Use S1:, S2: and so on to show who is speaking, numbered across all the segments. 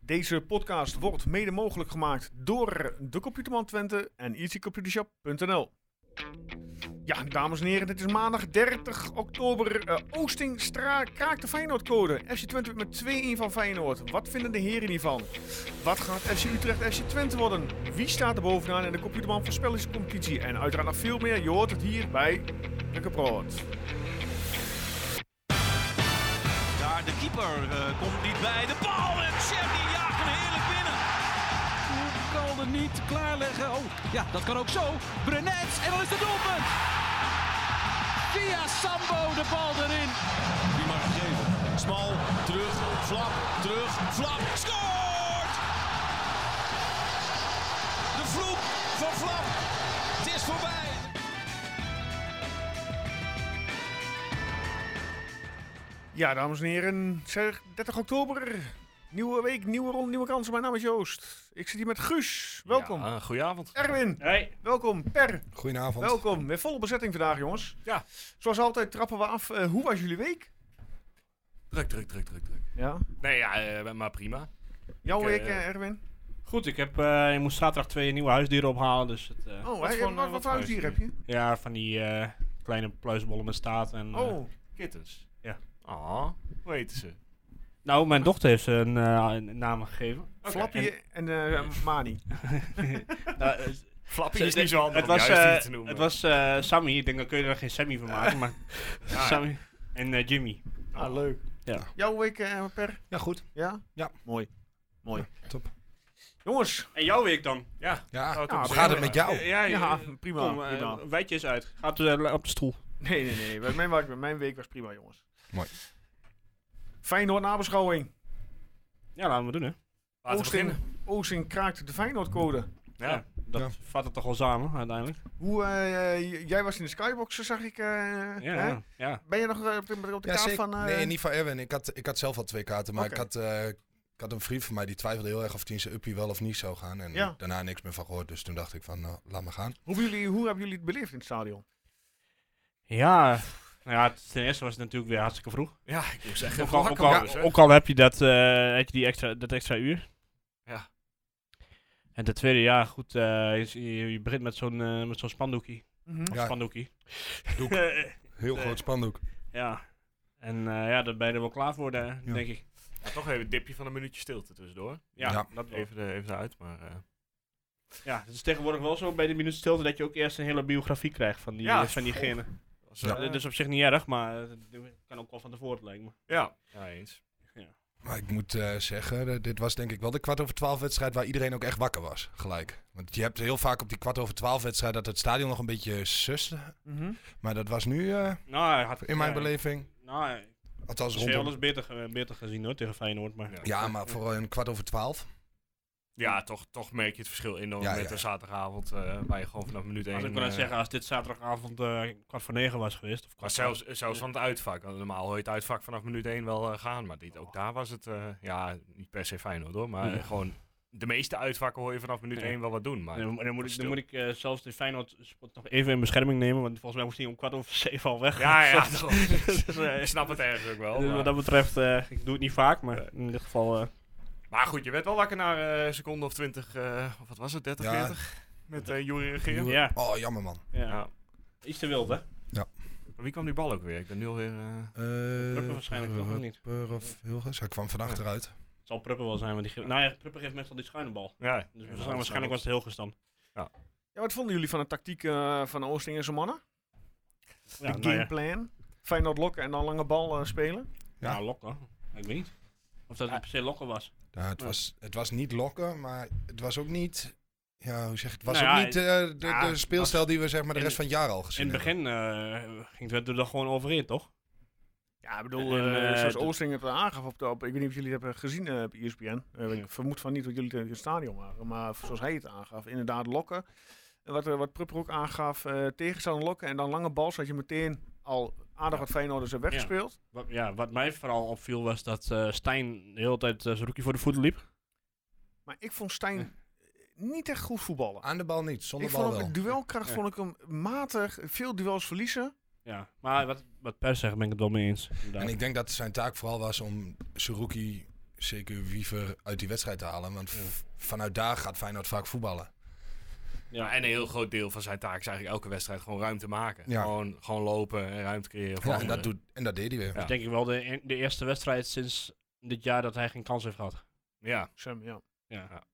S1: Deze podcast wordt mede mogelijk gemaakt door de Computerman Twente en easycomputershop.nl. Ja, dames en heren, dit is maandag 30 oktober. Eh, Oosting Stra kraakt de Feyenoordcode. FC Twente wint met 2-1 van Feyenoord. Wat vinden de heren hiervan? Wat gaat FC Utrecht FC Twente worden? Wie staat er bovenaan in de Computerman voorspellingscompetitie? En uiteraard nog veel meer. Je hoort het hier bij Lekker Brood.
S2: Daar de keeper eh, komt niet bij. De bal en Chef die jaagt hem heerlijk binnen.
S3: kan er niet klaarleggen. Oh, ja, dat kan ook zo. Brenets, en dan is het doelpunt. Via Sambo de bal erin.
S2: Die mag geven. Smal, terug, flap, terug, flap. Scoort! De vloek van flap. Het is voorbij.
S1: Ja, dames en heren, zeg 30 oktober. Nieuwe week, nieuwe ronde, nieuwe kansen. Mijn naam is Joost. Ik zit hier met Guus. Welkom.
S4: Ja, goedenavond.
S1: Erwin,
S5: Hey,
S1: welkom. Per,
S6: Goedenavond.
S1: welkom. Weer volle bezetting vandaag, jongens.
S4: Ja.
S1: Zoals altijd trappen we af. eh, hoe was jullie week?
S4: Druk, druk, druk, druk, druk.
S1: Ja.
S4: Nee, ja, eh, maar prima.
S1: Jouw
S4: Ik, eh,
S1: week, eh, Erwin?
S5: goed, ik, heb, eh, ik moest zaterdag twee nieuwe huisdieren ophalen. Dus het, eh,
S1: Oh,
S5: was
S1: hè,
S5: gewoon,
S1: wat,
S5: eh,
S1: wat voor huisdier heb je?
S5: Ja, van die eh, kleine pluisbollen met staat. En, eh,
S1: Oh,
S4: Kittens.
S5: Ja.
S4: Ah, hoe heten ze?
S5: Nou, mijn dochter heeft ze een, eh, een naam gegeven.
S1: Flappy en, eh, Mani.
S5: Nou, eh,
S4: Flappy
S5: ze-
S4: is niet zo handig
S5: het was,
S4: om juist
S5: eh,
S4: niet te noemen.
S5: Het was eh, Sammy, ik denk dat kun je er geen Sammy van maken. Maar
S4: ja.
S5: Sammy en eh, Jimmy.
S1: Ah, leuk.
S5: Ja.
S1: Jouw week, eh, Per?
S6: Ja, goed.
S1: Ja?
S6: Ja.
S1: Mooi. Mooi.
S6: top.
S1: Jongens,
S5: En jouw week dan?
S4: Ja.
S6: Ja,
S4: Oh,
S1: Ja,
S6: hoe
S4: Tom,
S6: gaat
S4: ja.
S6: het met jou?
S5: Ja,
S1: ja,
S5: eh,
S1: prima.
S5: Kom, eh,
S1: prima.
S5: wijd je eens uit. Gaat eh, op de stoel.
S1: Nee, nee, nee. Bij Mijn, wa- mijn week was prima, jongens.
S6: Mooi.
S1: Feyenoord nabeschouwing.
S5: Ja, laten we doen, hè.
S4: Laten we
S1: Oosting,
S4: beginnen.
S1: Oosting kraakt de Feyenoordcode.
S4: Ja.
S5: dat
S6: Ja.
S5: vat het toch wel samen, uiteindelijk.
S1: Hoe, eh, j- jij was in de skybox, zag ik. eh, hè?
S5: Ja, ja.
S1: Ben je nog eh, op de, op de
S6: Ja,
S1: kaart
S6: zeker.
S1: van... eh,
S6: Nee, niet van Erwin. Ik had, ik had zelf al twee kaarten, maar
S1: Oké.
S6: ik, had, eh, ik had een vriend van mij die twijfelde heel erg of hij in zijn uppie wel of niet zou gaan. En
S1: Ja.
S6: daarna niks meer van gehoord, dus toen dacht ik van, nou, laat maar gaan.
S1: Hoe, hebben jullie, hoe hebben jullie het beleefd in het stadion?
S5: Ja, nou ja, ten eerste was het natuurlijk weer hartstikke vroeg.
S4: Ja, ik moest echt
S5: Ook
S4: even
S5: al, ook,
S4: wakker
S5: al,
S4: worden, zeg.
S5: ook al heb je dat, eh, heb je die extra, dat extra uur.
S4: Ja.
S5: En ten tweede, ja, goed, eh, je- je, je begint met zo'n eh, met zo'n spandoekie. Of
S6: Ja.
S5: spandoekie.
S6: Doek. Heel groot spandoek.
S5: ja. En eh, ja, daar ben je er wel klaar voor, eh,
S6: Ja.
S5: denk ik.
S4: Ja, toch even een dipje van een minuutje stilte tussendoor.
S5: Ja,
S6: Ja.
S5: dat wel.
S4: Even, eh, even eruit, maar... eh,
S5: Ja, het is tegenwoordig wel zo bij de minuut stilte dat je ook eerst een hele biografie krijgt van, die, eh,
S4: Ja,
S5: van diegene.
S4: als,
S6: Ja.
S4: eh,
S5: Eh, dat is op zich niet erg, maar eh, dat kan ook wel van tevoren lijken me.
S4: ja. ja, eens.
S6: Maar ik moet eh, zeggen, eh, dit was denk ik wel de kwart over twaalf wedstrijd waar iedereen ook echt wakker was, gelijk. Want je hebt heel vaak op die kwart over twaalf wedstrijd dat het stadion nog een beetje suste. Maar dat was nu, eh,
S5: Nou, hij had,
S6: in mijn
S5: ja,
S6: beleving,
S5: Nou,
S6: althans
S5: Ze
S6: rondom...
S5: alles beter, ge- beter gezien hoor, tegen Feyenoord. Maar
S4: Ja.
S6: Ja, maar vooral een kwart over twaalf.
S4: Ja, toch, toch merk je het verschil enorm
S6: Ja,
S4: met
S6: ja.
S4: een zaterdagavond, eh, waar je gewoon vanaf minuut eh, 1...
S5: als ik wil zeggen, als dit zaterdagavond eh, kwart voor negen was geweest. Of
S4: Maar
S5: kwart
S4: zelfs, zelfs van het uitvak. want Normaal hoor je het uitvak vanaf minuut 1 wel eh, gaan. Maar dit, ook daar was het, eh, ja, niet per se fijn hoor. Maar eh,
S5: Ja.
S4: gewoon, de meeste uitvakken hoor je vanaf minuut
S5: Ja.
S4: 1 wel wat doen. Maar
S5: Dan, dan moet ik,
S4: stil.
S5: dan moet ik eh, zelfs de Feyenoord spot nog even in bescherming nemen, want volgens mij moest hij om kwart over zeven al weg.
S4: ja, ja,
S5: Dus,
S4: toch.
S5: eh,
S4: ik snap het ergens ook wel.
S5: dus wat
S4: Maar,
S5: dat betreft, eh, ik doe het niet vaak, maar in dit geval... eh,
S4: maar goed, je werd wel wakker na eh, een seconde of 20, eh, of wat was het, 30,
S6: Ja.
S4: 40? Met eh Jury Regeer.
S5: ja,
S4: Ja.
S5: ja.
S6: Oh, jammer man.
S5: Iets te wild, hè?
S4: Maar Wie kwam die bal ook weer? Ik ben nu alweer... eh
S6: Eh nou,
S5: Ruppen waarschijnlijk wel, of niet?
S6: Rupper of eh, Hilgers. Hij kwam van achteruit.
S5: Het zal Pruppen wel zijn, want die ge- nou ja, Pruppen geeft meestal die schuine bal.
S4: ja,
S5: Dus waarschijnlijk was het heel gestand.
S1: Ja, wat vonden jullie van de tactiek eh, van Oosting en zijn mannen?
S5: Ja,
S1: de
S5: nou ja.
S1: gameplan? Feyenoord lokken en dan lange bal eh, spelen?
S6: Ja.
S5: Ja, lokken. Ik weet niet. Of dat het per se lokken was.
S6: Ja, het, was, het was niet lokken, maar het was ook niet... Ja, hoe zeg je het? Het was
S5: Nou ja,
S6: ook niet eh, de, de
S5: ja,
S6: speelstijl die we zeg maar de
S5: in-
S6: rest van het jaar al
S5: In
S6: gezien
S5: het begin eh, ging het er dan gewoon overheen, toch?
S1: Ja, ik bedoel,
S5: En,
S1: eh,
S5: eh,
S1: zoals
S5: dat-
S1: Oosting het aangaf op de... Op, ik weet niet of jullie het hebben gezien eh, op ESPN. Eh,
S5: Ja.
S1: Ik vermoed van niet dat jullie tegen het stadion waren. Maar zoals hij het aangaf, inderdaad lokken. En Wat, eh, wat Prupper ook aangaf, eh tegenstander lokken en dan lange bal. Zodat je meteen al aardig wat Feyenoorders hebben
S5: Ja.
S1: weggespeeld.
S5: Wat, ja, wat mij vooral opviel was dat eh, Stijn de hele tijd eh, zijn rookie voor de voeten liep.
S1: Maar ik vond Stijn
S5: Ja.
S1: niet echt goed voetballen.
S6: Aan de bal niet, zonder
S1: Ik
S6: bal
S1: vond
S6: wel.
S1: hem, duelkracht
S5: Ja.
S1: vond ik hem matig. Veel duels verliezen.
S5: Ja, maar wat, wat Per zegt ben ik het wel mee eens. inderdaad.
S6: En ik denk dat zijn taak vooral was om Suruki zeker Wiever uit die wedstrijd te halen. Want v- vanuit daar gaat Feyenoord vaak voetballen.
S4: Ja, en een heel groot deel van zijn taak is eigenlijk elke wedstrijd gewoon ruimte maken.
S6: Ja.
S4: Gewoon, gewoon lopen en ruimte creëren. eh, voor
S6: Ja, en,
S4: anderen.
S6: dat doet, en dat deed hij weer.
S4: Ja.
S5: is denk ik wel de, e- de eerste wedstrijd sinds dit jaar dat hij geen kans heeft gehad.
S4: ja.
S1: Sam, ja.
S5: Ja.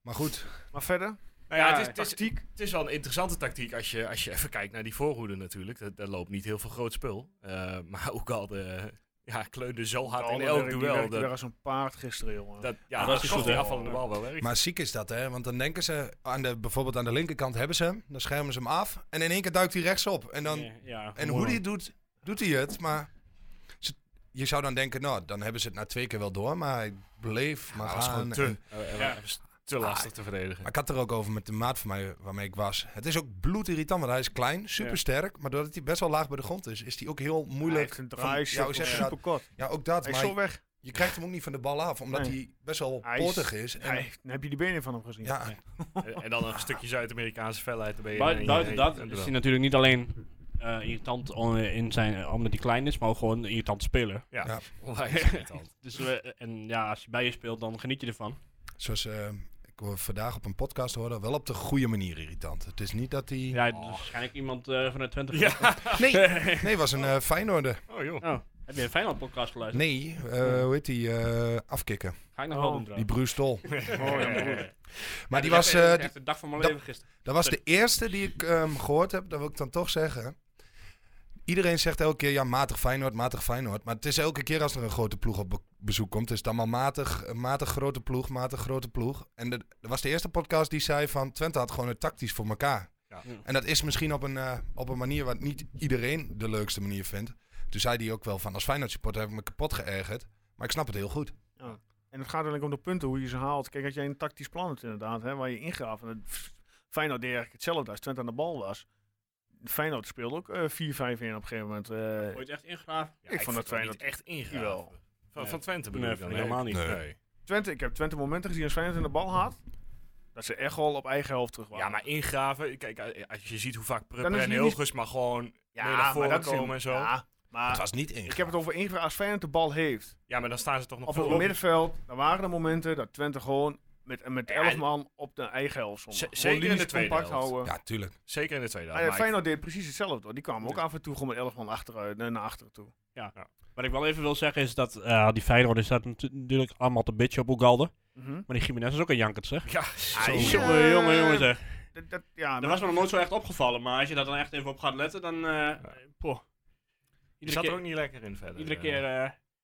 S6: Maar goed,
S1: Maar verder,
S4: Nou ja,
S5: Ja,
S4: het, is, het, is, het is wel een interessante tactiek als je, als je even kijkt naar die voorhoede natuurlijk. Daar, daar loopt niet heel veel groot spul. Eh, maar ook al de, ja, kleunde zo hard in
S1: Alle
S4: elk
S1: werk, die
S4: duel.
S1: werkte weer
S4: Dat,
S1: als een paard gisteren, jongen.
S4: dat, ja,
S5: dat
S4: dat
S5: is
S4: is
S5: goed,
S4: goed. Die
S5: hè?
S4: afvallende bal wel erg.
S6: maar ziek is dat hè. Want dan denken ze, aan de, bijvoorbeeld aan de linkerkant hebben ze hem. Dan schermen ze hem af. En in één keer duikt hij rechtsop. En, dan,
S5: ja,
S6: en hoe hij het doet, doet hij het. Maar ze- je zou dan denken, nou, dan hebben ze het na twee keer wel door. Maar hij bleef maar
S4: Maar was
S6: gaan.
S4: gewoon te,
S6: En-
S4: eh, eh,
S5: Ja.
S4: was te
S1: Ah.
S4: lastig te verdedigen.
S6: Maar ik had er ook over met de maat van mij waarmee ik was. Het is ook bloedirritant, want hij is klein, supersterk. Maar doordat hij best wel laag bij de grond is, is hij ook heel
S1: Hij
S6: moeilijk.
S1: heeft een
S6: van-
S1: draai,
S6: ja, hoe zeg je dat?
S1: super kort.
S6: Ja, ook dat.
S1: Hij is
S6: maar
S1: zo weg.
S6: je krijgt hem ook niet van de bal af, omdat
S1: Nee.
S6: hij best wel
S1: Hij is-
S6: potig is. En,
S1: Hij, dan heb je die benen van hem gezien?
S6: ja,
S4: Eh, en dan een stukje Zuid-Amerikaanse felheid. Dan ben je
S5: Bui-
S4: in-
S5: buiten
S4: in-
S5: dat
S4: in-
S5: is hij natuurlijk niet alleen eh, irritant on- in zijn, omdat hij klein is, maar ook gewoon een irritant speler.
S4: Ja,
S6: Ja.
S4: onwijs irritant.
S5: Dus we, en ja, als hij bij je speelt, dan geniet je ervan.
S6: zoals eh, ik hoor vandaag op een podcast hoorde, wel op de goede manier irritant. Het is niet dat hij...
S5: Ja, het is waarschijnlijk iemand eh, vanuit Twente.
S4: Ja.
S6: Nee, nee, was een eh Feyenoorder.
S4: Oh joh.
S5: Oh, heb je een Feyenoord podcast geluisterd?
S6: Nee, eh, hoe heet die? eh, afkikken.
S5: Ga ik nog
S1: Oh.
S5: wel doen
S6: Die
S5: trouwens.
S6: Bruce Tol.
S1: Oh, ja, maar-
S5: Maar
S6: Maar die was... eh, die-
S5: de dag van mijn
S6: dat-
S5: leven gisteren.
S6: Dat was de eerste die ik ehm, gehoord heb, dat wil ik dan toch zeggen. Iedereen zegt elke keer, ja, matig Feyenoord, matig Feyenoord. Maar het is elke keer als er een grote ploeg op be- bezoek komt, is het allemaal matig, eh, matig grote ploeg, matig grote ploeg. En de- dat was de eerste podcast die zei van, Twente had gewoon het tactisch voor elkaar.
S4: Ja.
S5: Ja.
S6: En dat is misschien op een, eh, op een manier wat niet iedereen de leukste manier vindt. Toen zei hij ook wel van, als Feyenoord supporter heb ik me kapot geërgerd. Maar ik snap het heel
S1: Ah,
S6: goed.
S1: En het gaat eigenlijk om de punten, hoe je ze haalt. Kijk, als jij een tactisch plan hebt inderdaad, hè, waar je ingaaf. En het, pff, Feyenoord deed eigenlijk hetzelfde als Twente aan de bal was. Feyenoord speelde ook eh, 4-5-1 op een gegeven moment. eh,
S5: Ooit echt ingegraven?
S4: Ja,
S1: Ik vond dat
S4: het wel niet
S1: Feyenoord-
S4: echt ingegaan.
S1: Jawel.
S4: Van,
S5: Nee.
S4: van Twente bedoel
S5: Nee,
S4: ik dan.
S5: vind ik
S4: hè?
S5: helemaal niet.
S4: nee.
S1: Twente, ik heb Twente momenten gezien als Feyenoord aan de bal had. Dat ze echt al op eigen helft terug waren.
S4: Ja, maar ingraven. Kijk, eh, als je ziet hoe vaak
S1: Dan
S4: Prupper
S1: is
S4: en
S1: hij niet-
S4: Hilgers maar gewoon
S1: Ja,
S4: mee naar voren
S1: dat is-
S4: komen en zo.
S1: Ja,
S4: Ja.
S1: maar
S6: Het was niet in.
S1: ik heb het over ingegaan als Feyenoord de bal heeft.
S4: maar dan staan ze toch nog
S1: Op
S4: veel
S1: het
S4: op.
S1: middenveld, dan waren er momenten dat Twente gewoon met, met
S4: Ja,
S1: 11
S4: en-
S1: man op de eigen helft stond.
S4: Z-
S1: Gewoon
S4: zeker in de
S1: linies
S4: tweede
S1: compact
S4: helft.
S1: houden.
S6: Ja, tuurlijk.
S4: Zeker in de tweede
S1: Ah, ja,
S4: helft. maar ik-
S1: Feyenoord deed precies hetzelfde. Hoor. Die kwamen ook af en toe gewoon met 11 man achteruit, eh, naar achteren toe.
S5: Wat ik wel even wil zeggen is dat eh, die Feyenoord is dat natu- natuurlijk allemaal te bitch op Oegalde.
S1: Mhm.
S5: Maar die Jiménez is ook een jankert zeg. Oh.
S4: Ja, zo.
S1: is-
S5: Jongen, jongen, jongen zeg.
S1: Dat, dat, ja,
S5: Dat
S1: maar-
S5: was me nog nooit zo echt opgevallen, maar als je daar dan echt even op gaat letten, dan... eh poh.
S4: Die zat
S5: Iedere
S4: er ook
S5: keer...
S4: niet lekker in verder.
S5: Iedere
S4: eh.
S5: keer eh,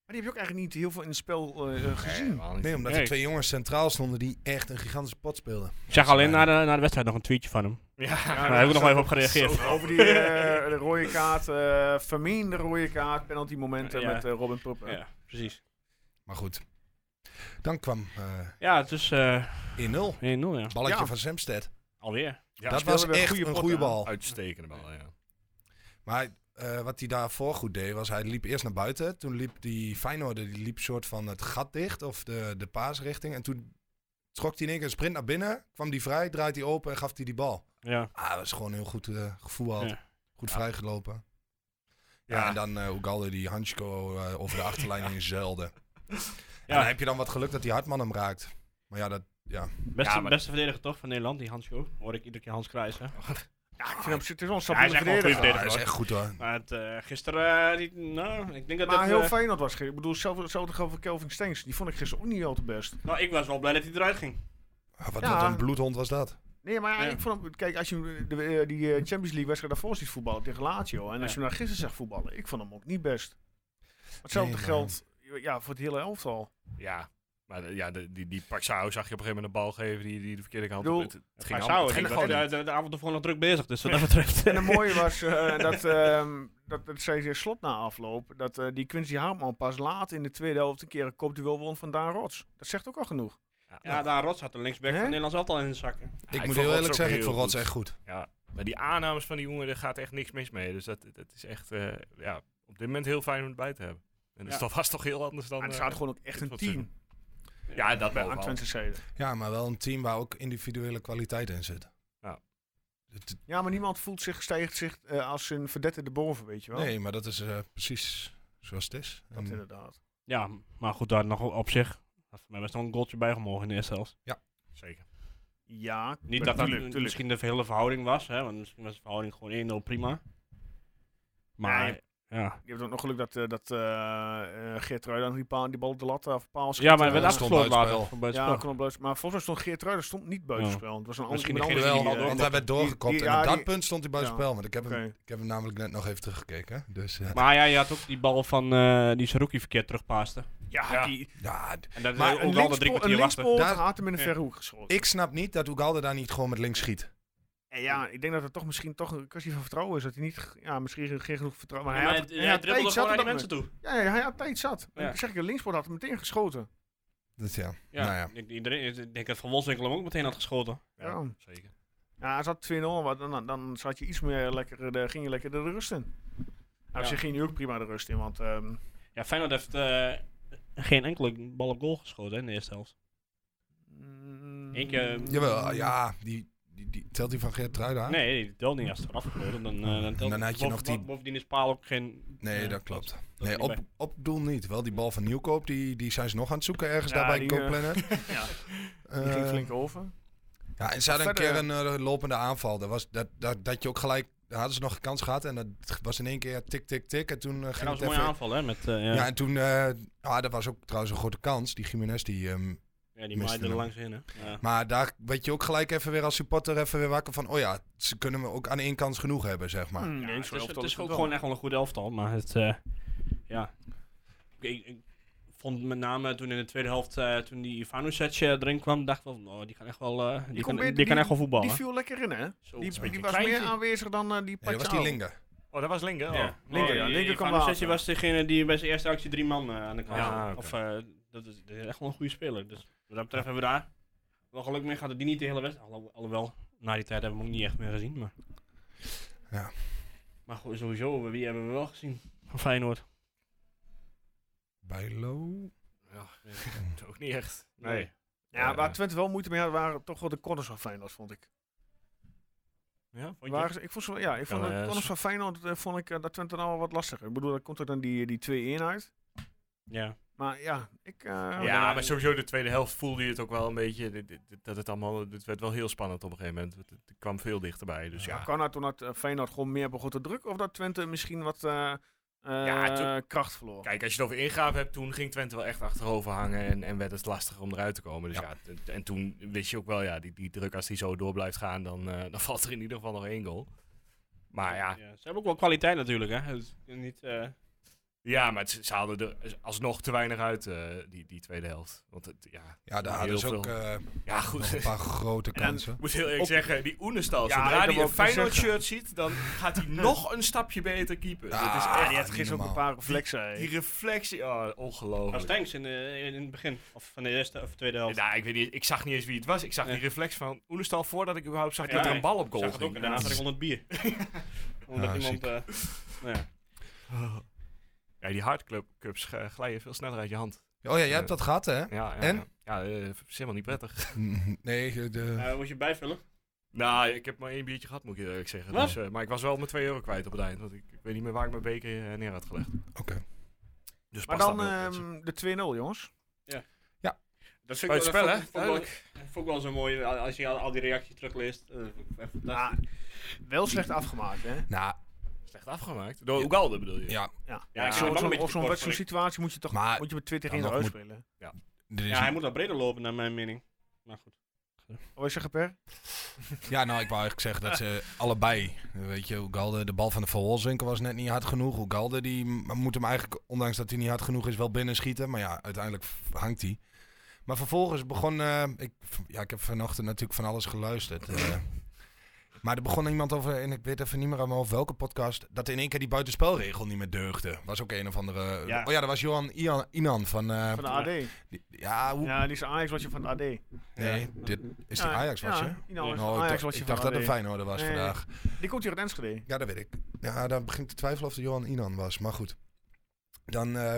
S1: Maar die heb je ook eigenlijk niet heel veel in het spel eh, eh,
S4: Nee,
S1: gezien.
S4: helemaal niet.
S6: Nee, omdat er
S5: Nee.
S6: twee jongens centraal stonden die echt een gigantische pot speelden.
S5: Ik zag alleen na de, na de wedstrijd nog een tweetje van hem.
S4: Ja,
S5: Daar heb ik nog wel even op gereageerd.
S1: Over die eh, de rode kaart, eh vermeende rode kaart, penalty momenten
S5: Ja.
S1: met eh, Robin Prupper.
S5: Ja, precies.
S6: Maar goed. Dan kwam eh
S5: Ja, het is eh
S6: 1-0.
S5: 1-0, ja.
S6: Balletje
S1: Ja.
S6: van Zemsted.
S5: Alweer.
S4: Ja,
S6: dat
S4: speelde
S6: was
S1: weer een
S6: echt
S1: goede
S6: een
S1: pot
S6: goede
S1: aan.
S6: bal.
S4: Uitstekende bal, ja.
S6: Maar eh, wat hij daarvoor goed deed, was hij liep eerst naar buiten. Toen liep die Feyenoorder, die liep soort van het gat dicht, of de, de paasrichting. En toen trok hij in één keer een sprint naar binnen, kwam die vrij, draait hij open en gaf hij die bal.
S5: Ja.
S6: Ah, dat is gewoon een heel goed eh, gevoel had.
S5: Ja.
S6: Goed vrijgelopen. Ja.
S4: Ja.
S6: en dan eh Ugalde die Hansko eh, over de achterlijn heen zeilde. Ja.
S5: Ja.
S6: dan heb je dan wat geluk dat die Hartman hem raakt. Maar ja, dat,
S5: Beste,
S4: Ja, maar-
S5: beste verdediger toch van Nederland, die Hans Koop. Hoor ik iedere keer Hans Kruijs, hè.
S1: Ja, ik vind hem, het is wel een
S5: hij is
S1: stabiele
S5: echt wel een goede
S1: verdediger.
S5: verdediger.
S6: ah, dat is
S5: hoor.
S6: echt goed hoor.
S5: Maar het, eh, gisteren, eh, die, nou, ik denk dat
S1: Maar
S5: het,
S1: heel
S5: eh,
S1: fijn dat was. ge- Ik bedoel, zelf- hetzelfde geldt voor Kelvin Stengs. Die vond ik gisteren ook niet al te best.
S5: nou, ik was wel blij dat hij eruit ging.
S6: Ah, Wat,
S1: Ja.
S6: wat een bloedhond was dat.
S1: Nee, maar ja,
S5: Ja.
S1: ik vond hem, kijk, als je hem, de, eh, die eh, Champions League wedstrijd daarvoor ziet voetballen tegen Lazio. En als
S5: Ja.
S1: je hem naar gisteren zag voetballen, ik vond hem ook niet best. Maar Hetzelfde
S6: Nee, maar-
S1: geldt ja, voor het hele elftal.
S4: Ja. Maar de- ja, de- die, die Paxao zag je op een gegeven moment een bal geven die, die de verkeerde kant
S1: Bedoel,
S4: op. Het, het
S5: Maar
S4: ging allemaal-
S5: zou
S4: het ging
S5: ik
S4: gewoon
S5: was de,
S4: niet.
S5: de, de avond ervoor nog druk bezig, dus wat dat betreft.
S1: En het mooie was eh, dat, ehm dat, dat zei ze slot na afloop, dat eh, die Quincy Hartman pas laat in de tweede helft een keer een kopduel won van Daan Rots. Dat zegt ook al genoeg.
S5: Ja, daar Rots had de linksback
S1: Hè?
S5: van Nederland altijd al in zijn zakken.
S4: Ja,
S6: ik,
S4: vond
S6: moet heel
S4: Rots
S6: eerlijk
S4: ook
S6: zeggen, ik
S4: heel
S6: vond Rots
S4: goed.
S6: echt goed.
S4: Ja, maar die aannames van die jongen, daar gaat echt niks mis mee. Dus dat, dat is echt eh, ja, op dit moment heel fijn om erbij te hebben. En dus
S5: Ja.
S4: dat was toch heel anders dan...
S6: Ah,
S1: Maar het
S4: eh,
S1: gaat gewoon ook echt
S4: dit
S1: een
S4: wat ze
S1: team
S4: ja, dat
S1: bij
S4: wel.
S1: aan
S4: wel.
S1: Twente zijde.
S6: Ja, maar wel een team waar ook individuele kwaliteit in zit.
S4: Ja.
S6: Het-
S1: Ja, maar niemand voelt zich, stijgt zich eh, als een verdette erboven, weet je wel.
S6: nee, maar dat is eh, precies zoals het is.
S1: Dat
S6: En
S1: inderdaad.
S5: Ja, maar goed, daar nog op zich. Maar voor mij was er nog een goaltje bij gemogen in de eerste helft.
S4: Zeker.
S1: Ja,
S5: Niet dat dat
S1: tuurlijk,
S5: m-
S1: tuurlijk.
S5: misschien de hele verhouding was, hè, want misschien was de verhouding gewoon 1-0 prima. Maar,
S1: Nee.
S5: ja.
S1: Je hebt ook nog geluk dat, eh dat eh eh, Geert Ruijden die, paal- die bal op de lat of paal schiet,
S5: Ja, maar
S1: eh,
S5: het werd
S6: eh,
S5: afgesloten
S6: stond buitenspel.
S5: later. Van buitenspel.
S1: Ja, kon buiten, maar volgens mij stond Geert Ruijden stond niet buitenspel. Het was een ander
S5: Misschien
S1: iemand
S5: degene
S1: anders
S6: Jawel,
S5: die
S1: die,
S5: die
S6: want
S1: eh,
S6: hij werd doorgekopt.
S1: die-
S6: en
S1: ja,
S6: op dat
S1: die-
S6: punt stond hij buiten
S1: ja.
S6: spel. Want ik heb, hem,
S1: Oké.
S6: ik heb hem namelijk net nog even teruggekeken. Dus eh,
S5: Maar ja, je had ook die bal van eh, die Saruki verkeerd terugpaaste.
S1: ja,
S4: Ja.
S1: die,
S6: ja, d-
S5: En dat
S1: maar
S5: maar
S1: een
S5: ook al de drie
S1: linkspoor, een
S5: kwartier wachten.
S1: linkspoor
S6: Daar-
S1: had hem in een
S5: Ja.
S1: verre hoek geschoten.
S6: ik snap niet dat Ugalde daar niet gewoon met links schiet.
S1: En ja, ik denk dat het toch misschien toch een kwestie van vertrouwen is. Dat hij niet, ge- ja, misschien geen genoeg vertrouwen. Maar
S5: Ja,
S1: hij,
S5: maar
S1: had,
S5: hij
S1: hij had tijd zat. op dat
S5: toe.
S1: moment. Ja, ja, hij had tijd zat.
S5: Ja.
S1: Ik zeg je, linkspoor had hem meteen geschoten.
S6: Dus ja,
S5: Ja,
S6: nou ja.
S5: Ik, denk- iedereen, ik denk dat Van Wolfswinkel hem ook meteen had geschoten.
S1: Ja. Ja.
S4: Zeker.
S1: hij zat 2-0, maar dan, dan, dan zat je iets meer lekker, de, ging je lekker de rust in. Nou,
S5: Ja.
S1: ze ging nu ook prima de rust in, want ehm,
S5: Ja, Feyenoord heeft eh, geen enkele bal op goal geschoten hè, in de eerste helft.
S1: Mm,
S5: Eén keer-
S6: Jawel, ja, die, die, die telt hij van Geert Ruida aan?
S5: Nee, die telt niet als het eraf gebeurt. Dan, eh, dan, telt
S6: Ah. Dan had
S5: boven-
S6: je nog die-
S5: Bovendien is Paal ook geen...
S6: Nee,
S5: eh,
S6: dat klopt.
S5: dat
S6: nee,
S5: er niet
S6: op, op doel niet. Wel die bal van Nieuwkoop, die, die zijn ze nog aan het zoeken ergens
S1: Ja,
S6: daarbij
S1: die,
S6: daar
S1: eh,
S6: bij Coplanet.
S1: ja, die ging
S6: Eh,
S1: flink over.
S6: Ja, en ze hadden een
S1: Verder-
S6: keer een eh, lopende aanval. Dat, was, dat, dat, dat je ook gelijk, daar hadden ze nog een kans gehad. En dat was in één keer tik, tik, tik. En toen eh,
S5: Ja,
S6: ging
S5: dat was
S6: het
S5: een mooie
S6: even-
S5: aanval, hè? Met, eh, ja,
S6: Ja, en toen, eh, ah, dat was ook trouwens een grote kans. Die Jiménez, die... ehm,
S5: ja, die
S6: miste
S5: maaide er
S6: hem.
S5: langs in, hè? Ja.
S6: maar daar werd je ook gelijk even weer als supporter even weer wakker van... Oh ja, ze kunnen me ook aan één kans genoeg hebben, zeg maar.
S1: Mm,
S5: Ja,
S1: nee,
S5: het
S1: zo'n
S5: is,
S1: elftal
S5: het is
S1: goed
S5: ook
S1: wel.
S5: gewoon echt wel een goed elftal, maar het, eh, ja. Ik, ik, ik vond met name toen in de tweede helft, eh, toen die Ivanovic eh, erin kwam, dacht ik wel, van, oh, die kan echt wel, eh, die,
S1: kon
S5: kan,
S1: beter-
S5: die,
S1: die-
S5: kan echt wel voetballen.
S1: Die viel lekker in, hè?
S5: Zo,
S1: Die,
S5: zo'n
S1: die
S5: beetje
S1: was
S5: kleintje.
S1: meer aanwezig dan eh, die
S6: Nee, dat was die
S1: Pacquiao.
S6: Linga.
S4: Oh, dat was Linker.
S5: Ja,
S4: Ja.
S5: Oh,
S1: linker, ja,
S5: die-
S1: linker
S5: die
S1: kwam
S5: Ivanovic
S1: wel.
S5: was degene die bij zijn eerste actie drie man eh, aan de kant
S4: Ja,
S5: had.
S4: oké.
S5: Of, eh, dat, is, dat is echt wel een goede speler. Dus wat dat betreft hebben we daar wel geluk mee gehad dat die niet de hele wedstrijd, alho- alhoewel, na die tijd hebben we hem ook niet echt meer gezien. Maar,
S6: Ja.
S5: maar goed, sowieso, wie hebben we wel gezien van Feyenoord?
S6: Bijlo?
S4: Ook niet echt.
S5: Nee.
S1: Ja,
S4: Eh,
S1: waar Twente wel moeite mee had, waren toch wel de corners van Feyenoord, vond ik.
S4: Ja, vond je?
S1: Waren ze- ik vond, ze- ja, ik vond
S4: Ja,
S1: de
S4: eh,
S1: corners
S4: ze-
S1: van Feyenoord, eh, vond ik eh, dat Twente nou wel wat lastiger. Ik bedoel, dat komt ook dan die, die 2-1 uit.
S5: Ja.
S1: Maar ja, ik... eh,
S4: Ja, maar sowieso de tweede helft voelde je het ook wel een beetje. dit- dit- dit- Dat het allemaal. Het werd wel heel spannend op een gegeven moment. Het, het kwam veel dichterbij. Dus ja.
S1: Ja, kan dat toen dat eh, Feyenoord gewoon meer begon te drukken? Of dat Twente misschien wat eh, eh,
S4: toen-
S1: kracht verloor?
S4: Kijk, als je het over ingaven hebt, toen ging Twente wel echt achterover hangen en, en werd het lastiger om eruit te komen. Dus ja, t- en toen wist je ook wel, ja, die, die druk als die zo door blijft gaan, dan, eh, dan valt er in ieder geval nog één goal. Maar Ah, ja,
S5: Ze hebben ook wel kwaliteit natuurlijk, hè? Het is niet, eh,
S4: ja maar ze, ze haalden er alsnog te weinig uit, eh, die, die tweede helft. Want het, ja,
S6: Ja, daar
S4: Heel
S6: hadden ze ook
S4: veel.
S6: eh,
S4: ja,
S6: nog een
S4: goed.
S6: paar grote
S1: En dan-
S6: kansen.
S4: Ik moet heel eerlijk
S1: Op-
S4: zeggen, die
S1: Ja,
S4: Oenestal,
S1: ik
S4: zodra
S1: heb
S4: hij een
S1: ook te
S4: Feyenoord
S1: zeggen.
S4: shirt ziet, dan gaat hij nog een stapje beter keeper.
S6: Ah,
S4: Dat Dus is echt,
S1: die had
S6: niet
S1: gisteren ook een
S6: normaal.
S1: paar reflexen. hè.
S4: die reflectie, oh,
S5: was
S4: ongelooflijk.
S5: Stenks in, de- in het begin, of van de eerste of tweede helft.
S4: Nou, ik, weet niet, ik zag niet eens wie het was. Ik zag
S5: Nee.
S4: die reflex van Oenestal voordat ik überhaupt zag
S5: Ja,
S4: dat er een
S5: nee.
S4: bal op
S5: Ik
S4: goal
S5: zag het ook
S4: ging.
S5: en daarna zat ik onder het bier. Omdat
S6: Ah,
S5: iemand...
S6: ziek.
S5: eh, nou ja.
S4: Ja, die hardcups eh, glijden veel sneller uit je hand.
S6: Oh ja, jij hebt dat gehad, hè?
S4: Ja, ja,
S6: En?
S4: Ja, Ja, eh, is helemaal niet prettig.
S6: Nee, de...
S5: Eh, moet je bijvullen?
S4: nou, ik heb maar één biertje gehad, moet ik eerlijk zeggen.
S5: Wat?
S4: Dus, eh, maar ik was wel mijn 2 euro kwijt op het eind. Want ik, ik weet niet meer waar ik mijn beker eh, neer had gelegd.
S6: Oké.
S4: Dus
S1: Maar
S4: pas
S1: dan
S4: dat wel, mensen.
S1: ehm, de 2-0, jongens.
S5: Dat
S4: Uit het spel, hè?
S5: Vond ik wel zo mooi, eh, als je al, al die reacties terugleest. eh, vond ik echt fantastisch.
S1: Wel slecht afgemaakt, hè?
S6: Nou,
S4: Slecht afgemaakt. Door Ugalde bedoel je?
S6: ja,
S1: Ja.
S5: Ja,
S1: Zo'n-
S5: ik vond het ook een
S1: zo'n-
S5: beetje
S1: Of zo'n wed-
S5: tekort, vond
S1: zo'n
S5: ik.
S1: situatie moet je toch
S6: Maar-
S1: moet je met 20
S6: Dan
S1: in
S6: nog
S1: eruit
S6: moet-
S1: spelen.
S6: er is
S5: Ja, hij moet wat breder lopen, naar mijn mening. Maar goed.
S1: Wat wil je zeggen, Per?
S6: Ja, nou, ik wou eigenlijk zeggen dat ze allebei, weet je, Ugalde, de bal van de Van Wolfswinkel was net niet hard genoeg. Ugalde, die m- moet hem eigenlijk, ondanks dat hij niet hard genoeg is, wel binnenschieten. Maar ja, uiteindelijk f- hangt hij. Maar vervolgens begon, eh, ik, ja, ik heb vanochtend natuurlijk van alles geluisterd. eh. maar er begon iemand over, en ik weet even niet meer aan mijn hoofd welke podcast, dat in één keer die buitenspelregel niet meer deugde. Was ook een of andere...
S5: Ja.
S6: Oh ja, dat was Johan Ian, Inan van... eh,
S1: Van de AD.
S6: die- ja, hoe...
S1: Ja, die is Ajax wat je van de AD.
S6: Nee,
S5: Ja.
S6: dit is die
S1: Ja,
S6: Ajax, was
S1: ja,
S6: je?
S1: die nou is
S6: Nou, ik
S1: Ajax
S6: dacht-
S1: was je
S6: ik
S1: van
S6: dacht dat
S1: AD.
S6: het Feyenoord was
S1: Nee.
S6: vandaag.
S1: Die komt hier uit Enschede.
S6: Ja, dat weet ik. Ja, dan begint te twijfelen of de Johan Inan was. Maar goed. Dan eh,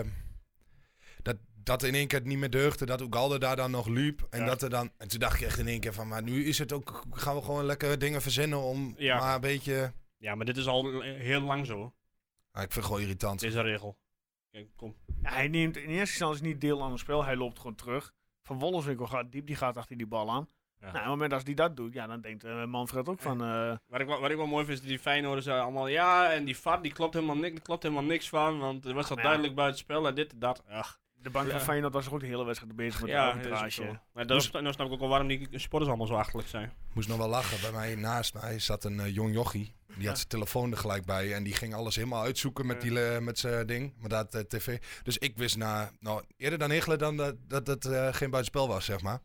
S6: dat, dat in één keer het niet meer deugde. Dat Ugalde daar dan nog liep. En,
S5: Ja.
S6: dat er dan, en toen dacht je echt in één keer van... Maar nu is het ook... Gaan we gewoon lekker dingen verzinnen om
S5: Ja.
S6: maar een beetje...
S5: Ja, maar dit is al eh, heel lang zo,
S6: Ah, ik vind het gewoon irritant.
S5: deze regel. Kijk, kom.
S1: Ja, Nou, hij neemt in eerste instantie niet deel aan het spel. Hij loopt gewoon terug. Van Wollenswinkel gaat diep, die gaat achter die bal aan.
S4: Ja.
S1: Nou, op het moment als die dat doet, ja, dan denkt eh, Manfred ook van... eh,
S5: Wat ik, wel- wat ik wel mooi vind is dat die Feyenoorders eh, allemaal ja, en die VAR die klopt helemaal niks, klopt helemaal niks van, want er was al
S1: Ja.
S5: duidelijk buiten spel en dit en dat. Ach,
S1: de bank van
S5: Ja.
S1: Feyenoord was toch ook de hele wedstrijd bezig met de
S5: ja, dat is ook zo.
S1: arbitrage.
S5: Maar dat is- dan snap ik ook wel waarom die sporters allemaal zo achterlijk zijn.
S6: Moest nog wel lachen. Bij mij naast mij zat een eh, jong jochie. Die had zijn telefoon er gelijk bij. En die ging alles helemaal uitzoeken met, die, le- met zijn ding. Met dat eh, tv. Dus ik wist na, nou, eerder dan Higelen dan dat dat het eh, geen buitenspel was, zeg maar.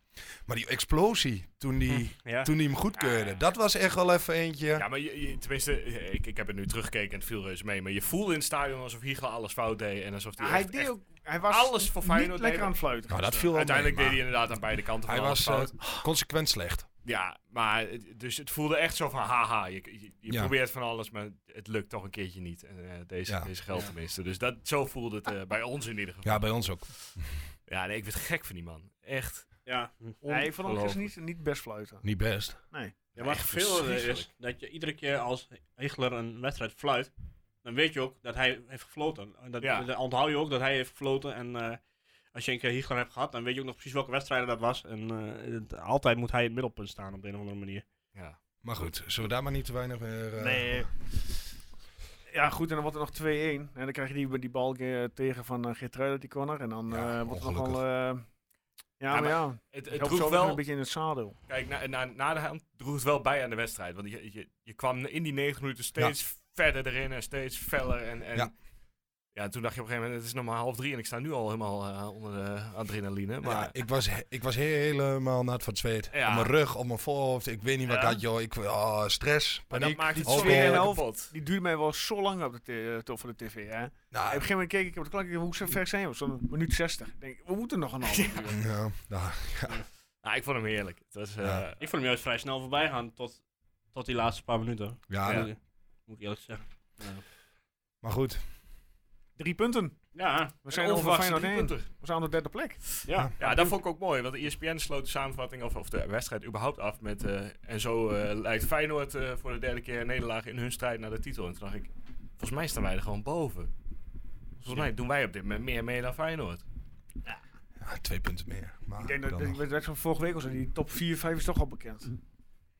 S6: Maar die explosie toen die,
S5: Ja.
S6: toen die hem goedkeurde. Dat was echt wel even eentje.
S4: Hm, Ah. Ja, maar je, je- tenminste, eh, ik, ik heb het nu teruggekeken en het viel reuze mee. Maar je voelde in het stadion alsof Hiegel alles fout deed. En alsof
S1: Ja,
S4: hij,
S1: Nou, hij
S4: echt-
S1: deed
S4: echt-
S1: ook... Hij was
S4: alles voor Feyenoord
S1: niet lekker
S4: deed.
S1: aan het fluiten.
S6: nou, dat viel wel
S4: Uiteindelijk
S6: mee,
S4: deed
S6: maar
S4: hij inderdaad aan beide kanten van
S6: Hij
S4: alles
S6: was
S4: fout.
S6: eh, consequent slecht.
S4: Ja, maar het- dus het voelde echt zo van haha, je, je, je
S6: Ja.
S4: probeert van alles, maar het lukt toch een keertje niet. En, eh, deze,
S6: Ja.
S4: deze geldt tenminste. Dus dat, zo voelde het eh, bij ons in ieder geval.
S6: Ja, bij ons ook.
S4: Ja, nee, ik werd gek van die man. Echt.
S5: Ja,
S1: Nee, ik vond hem gisteren niet, niet best fluiten.
S6: Niet best.
S5: Ja, wat
S4: Echt
S5: vervelender is
S4: verschrikkelijk.
S5: dat je iedere keer als Hegler een wedstrijd fluit, dan weet je ook dat hij heeft gefloten. En Dat,
S4: Ja.
S5: Dan onthoud je ook dat hij heeft gefloten. En eh, als je een keer Hegler hebt gehad, dan weet je ook nog precies welke wedstrijden dat was. En eh, het- altijd moet hij in het middelpunt staan op de een of andere manier.
S4: Ja.
S6: Maar goed, zullen we daar maar niet te weinig meer... eh,
S1: Nee. Ja, goed, en dan wordt er nog 2-1. En dan krijg je die, die bal eh, tegen van uh, Geertruida, die corner. En dan
S6: Ja,
S1: eh, wordt er nog
S6: ongelukkig.
S1: wel... eh, ja, maar,
S4: maar
S1: ja,
S4: Het,
S1: het
S4: het
S1: roept
S4: droeg
S1: wel een
S4: wel,
S1: beetje in het zadel.
S4: kijk, na, na, na de hand droeg het wel bij aan de wedstrijd. Want je, je, je kwam in die negen minuten steeds verder erin en steeds feller. En, en
S6: Ja.
S4: ja. toen dacht je op een gegeven moment, het is nog maar half drie en ik sta nu al helemaal eh, onder de adrenaline. Maar
S6: ja, ik was, ik was helemaal nat van het zweet.
S4: Ja.
S6: Op mijn rug, op mijn voorhoofd. Ik weet niet wat
S4: Ja.
S6: ik had, joh. Ik, oh, stress,
S4: maar dat
S6: paniek.
S4: maakt het
S6: alcohol.
S4: zo weer
S1: Tweeënhalf.
S4: kapot.
S1: Die duurde mij wel zo lang op de, t- eh, t- voor de tv, hè. En op een
S6: Nou,
S1: gegeven moment keek ik op de klok, ik dacht, hoe ver zijn we? Zo'n minuut 60. Ik denk, we moeten nog een half uur.
S6: ja, nou,
S4: Ah, ik vond hem heerlijk. Het was, eh,
S6: Ja.
S5: Ik vond hem juist vrij snel voorbij gaan tot, tot die laatste paar minuten.
S6: ja,
S1: Ah,
S4: Ja.
S5: Moet- Moet ik eerlijk zeggen.
S6: maar goed.
S1: Drie punten.
S5: Ja,
S1: We zijn
S4: een
S1: over
S4: onverwachte
S1: Feyenoord
S4: drie
S1: heen.
S4: punter.
S1: We zijn aan de derde plek.
S5: ja.
S4: Ja, dat vond ik ook mooi, want ESPN sloot de E samenvatting of, of de wedstrijd überhaupt af met... eh, en zo eh, leidt Feyenoord eh, voor de derde keer een nederlaag in hun strijd naar de titel. En toen dacht ik, volgens mij staan wij er gewoon boven. Volgens mij doen wij op dit moment meer mee dan Feyenoord.
S6: Ja, twee punten meer. Maar
S1: Ik denk dat
S6: dan
S1: de
S6: nog.
S1: wedstrijd van vorige week was, en die top 4, 5 is toch al bekend.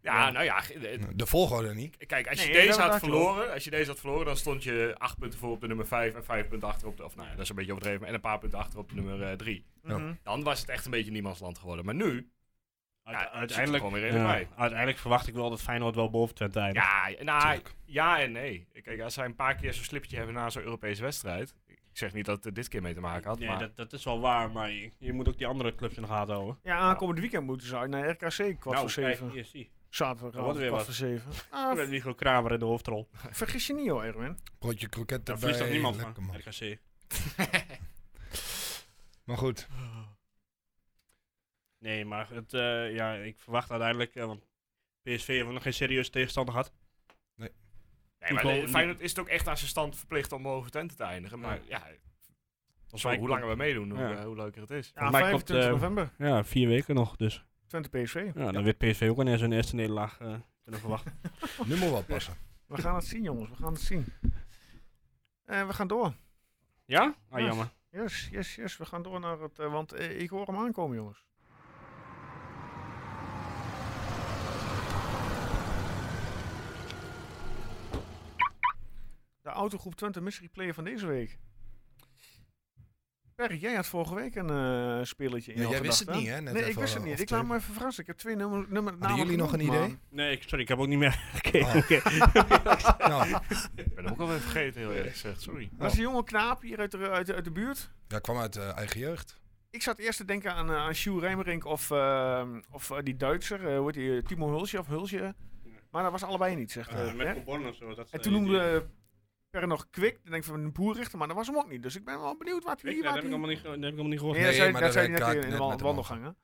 S4: Ja, nou ja, g- eh,
S6: de volgorde niet.
S4: kijk, als je,
S1: Nee, dat-
S4: deze had
S1: dat klopt.
S4: verloren, als je deze had verloren, dan stond je acht punten voor op de nummer 5 en vijf punten achter op de... Of nou ja, dat is een beetje overdreven, maar en een paar punten achter op de nummer 3.
S6: Ja.
S1: Mhm.
S4: dan was het echt een beetje niemands land geworden. Maar nu,
S5: Uite-
S4: Ja, het zit er
S5: uiteindelijk,
S4: gewoon weer redelijk bij.
S5: uiteindelijk verwacht ik wel dat Feyenoord wel boven Twente eindigt.
S4: Ja, nou,
S6: Tuurlijk.
S4: ja en nee. Kijk, als zij een paar keer zo'n slipje hebben na zo'n Europese wedstrijd. Ik zeg niet dat het er dit keer mee te maken had.
S5: nee,
S4: maar
S5: dat, dat is wel waar, maar je, je moet ook die andere clubs in de gaten houden. Nou,
S1: Ja, aankomend weekend moeten ze uit naar RKC, kwart voor zeven.
S5: kijk, hier, zie.
S1: Zaterdag
S5: wordt weer
S1: kwart
S5: wat.
S1: voor zeven.
S5: Ik
S1: Ah,
S5: ben Wigo Kramer in de hoofdrol.
S1: vergis je niet hoor, Erwin.
S6: Broodje kroket
S5: Daar
S6: erbij.
S5: Nou, verliest toch niemand
S6: lekker,
S5: van,
S6: man.
S5: RKC.
S6: Maar goed.
S5: Nee, maar het, eh, ja, ik verwacht uiteindelijk, eh, want PSV heeft nog geen serieuze tegenstander gehad.
S4: nee, maar
S5: Nico-
S4: de- Feyenoord is het ook echt aan zijn stand verplicht om boven Twente te eindigen. Maar ja, zo, hoe langer we meedoen, hoe,
S5: Ja.
S4: eh, hoe leuker het is.
S1: Ja,
S5: mij klopt,
S1: 25
S5: eh,
S1: november,
S5: Ja, vier weken nog, dus.
S1: Twente PSV.
S5: Ja, dan weet PSV ook wanneer zijn eerste nederlaag eh, kunnen verwachten.
S6: Nu moet wel passen.
S1: We gaan het zien jongens, we gaan het zien. Eh, we gaan door.
S5: ja? Ah,
S1: Ja.
S5: jammer.
S1: Yes, yes, yes, we gaan door naar het... eh, want eh, ik hoor hem aankomen jongens. De autogroep Twente Mystery Player van deze week. Per, jij had vorige week een eh spelletje in
S6: Ja,
S1: jouw
S6: jij wist het
S1: gedachten.
S6: niet, hè? Net
S1: nee, ik
S6: even,
S1: wist het
S6: eh,
S1: niet.
S6: off
S1: Ik
S6: the-
S1: laat me even verrassen. Ik heb twee nummer, nummer
S6: Hadden
S1: namen
S6: jullie nog een
S1: genoemd, maar-
S6: idee?
S5: Nee, ik, sorry, ik heb ook niet meer gekeken.
S6: Oh. nou,
S4: Ik ben hem ook alweer vergeten, heel eerlijk gezegd. Sorry.
S1: Dat
S6: Oh.
S1: is een jonge knaap hier uit de, uit de, uit de buurt.
S6: dat kwam uit eh, eigen jeugd.
S1: Ik zat eerst te denken aan, eh, aan Sjoe Rijmerink of, ehm, of eh, die Duitser, eh, hoe heet die, eh, Timo Hulsje of Hulsje. Maar dat was allebei niet, zegt
S5: Ah.
S1: eh, Per.
S5: Coborn of zo. Dat,
S1: En toen noemde eh, Per nog Kwik, dan denk ik van een boerrichter, maar dat was hem ook niet. Dus ik ben wel benieuwd wat hij...
S5: dat
S1: wat
S5: heb ik
S1: hij-
S5: allemaal niet, ge- dat heb ik allemaal niet gehoord.
S1: Nee, dat
S6: Nee,
S1: zei,
S6: maar
S1: dat
S6: dat
S1: zei
S6: weet
S1: hij net
S6: Kaak
S1: in- in
S6: net
S1: de
S6: met de
S1: wandelgangen.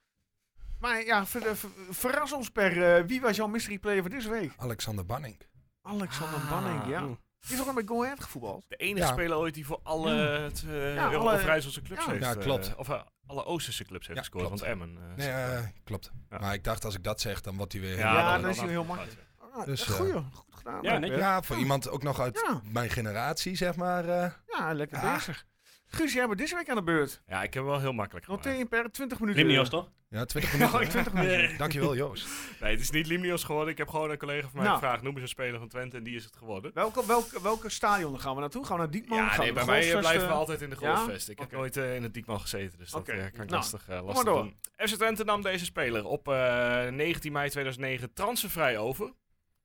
S1: Maar ja, ver- ver- verras ons Per. eh, wie was jouw mystery player van deze week?
S6: Alexander Banning.
S1: Alexander
S6: Ah,
S1: Banning, ja.
S5: Mm.
S1: Die is ook nog bij Go Ahead gevoetbald.
S4: De enige
S6: Ja.
S4: speler ooit die voor alle, het, eh,
S1: Ja, alle-
S4: Overijsselse clubs
S1: ja.
S4: heeft...
S6: Ja,
S4: eh,
S6: klopt.
S4: of eh, alle Oosterse clubs heeft
S6: Ja,
S4: gescoord,
S6: klopt.
S4: want Emmen... eh,
S6: Nee, eh, klopt.
S4: Ja.
S6: Maar ik dacht, als ik dat zeg, dan wordt hij weer...
S1: Ja,
S4: dat-
S1: dan is
S4: dat-
S1: hij heel
S4: dat-
S1: makkelijk. Ah,
S6: Dus,
S1: goeie, goed gedaan.
S5: ja,
S1: eh,
S5: netjes.
S1: Per.
S6: Ja, voor iemand ook nog uit
S1: Ja.
S6: mijn generatie, zeg maar. eh,
S1: Ja, lekker
S6: Ja.
S1: bezig. Guus, jij bent deze week aan de beurt.
S4: Ja, ik heb hem wel heel makkelijk gemaakt.
S1: Noteer je per 20 minuten.
S5: Limnios toch?
S6: Ja, 20
S1: Nou,
S6: minuten.
S1: 20 minuten.
S6: Dankjewel, Joost.
S4: Nee, het is niet Limnios geworden. Ik heb gewoon een collega van mij
S1: Nou.
S4: gevraagd, noem eens een speler van Twente en die is het geworden.
S1: Welke, welke, welke stadion gaan we naartoe? Gaan we naar Diekman?
S4: ja,
S1: gaan
S4: nee,
S1: we
S4: bij
S1: naar
S4: mij eh,
S1: Golfvest,
S4: blijven we
S1: eh?
S4: altijd in de
S1: ja?
S4: golfvest. Ik
S1: Oké.
S4: heb nooit eh, in het diepman gezeten, dus dat
S1: Oké.
S4: eh, kan ik
S1: Nou,
S4: lastig, eh,
S1: maar
S4: lastig
S1: door.
S4: doen. FC Twente nam deze speler op eh, 19 mei 2009 transfervrij over.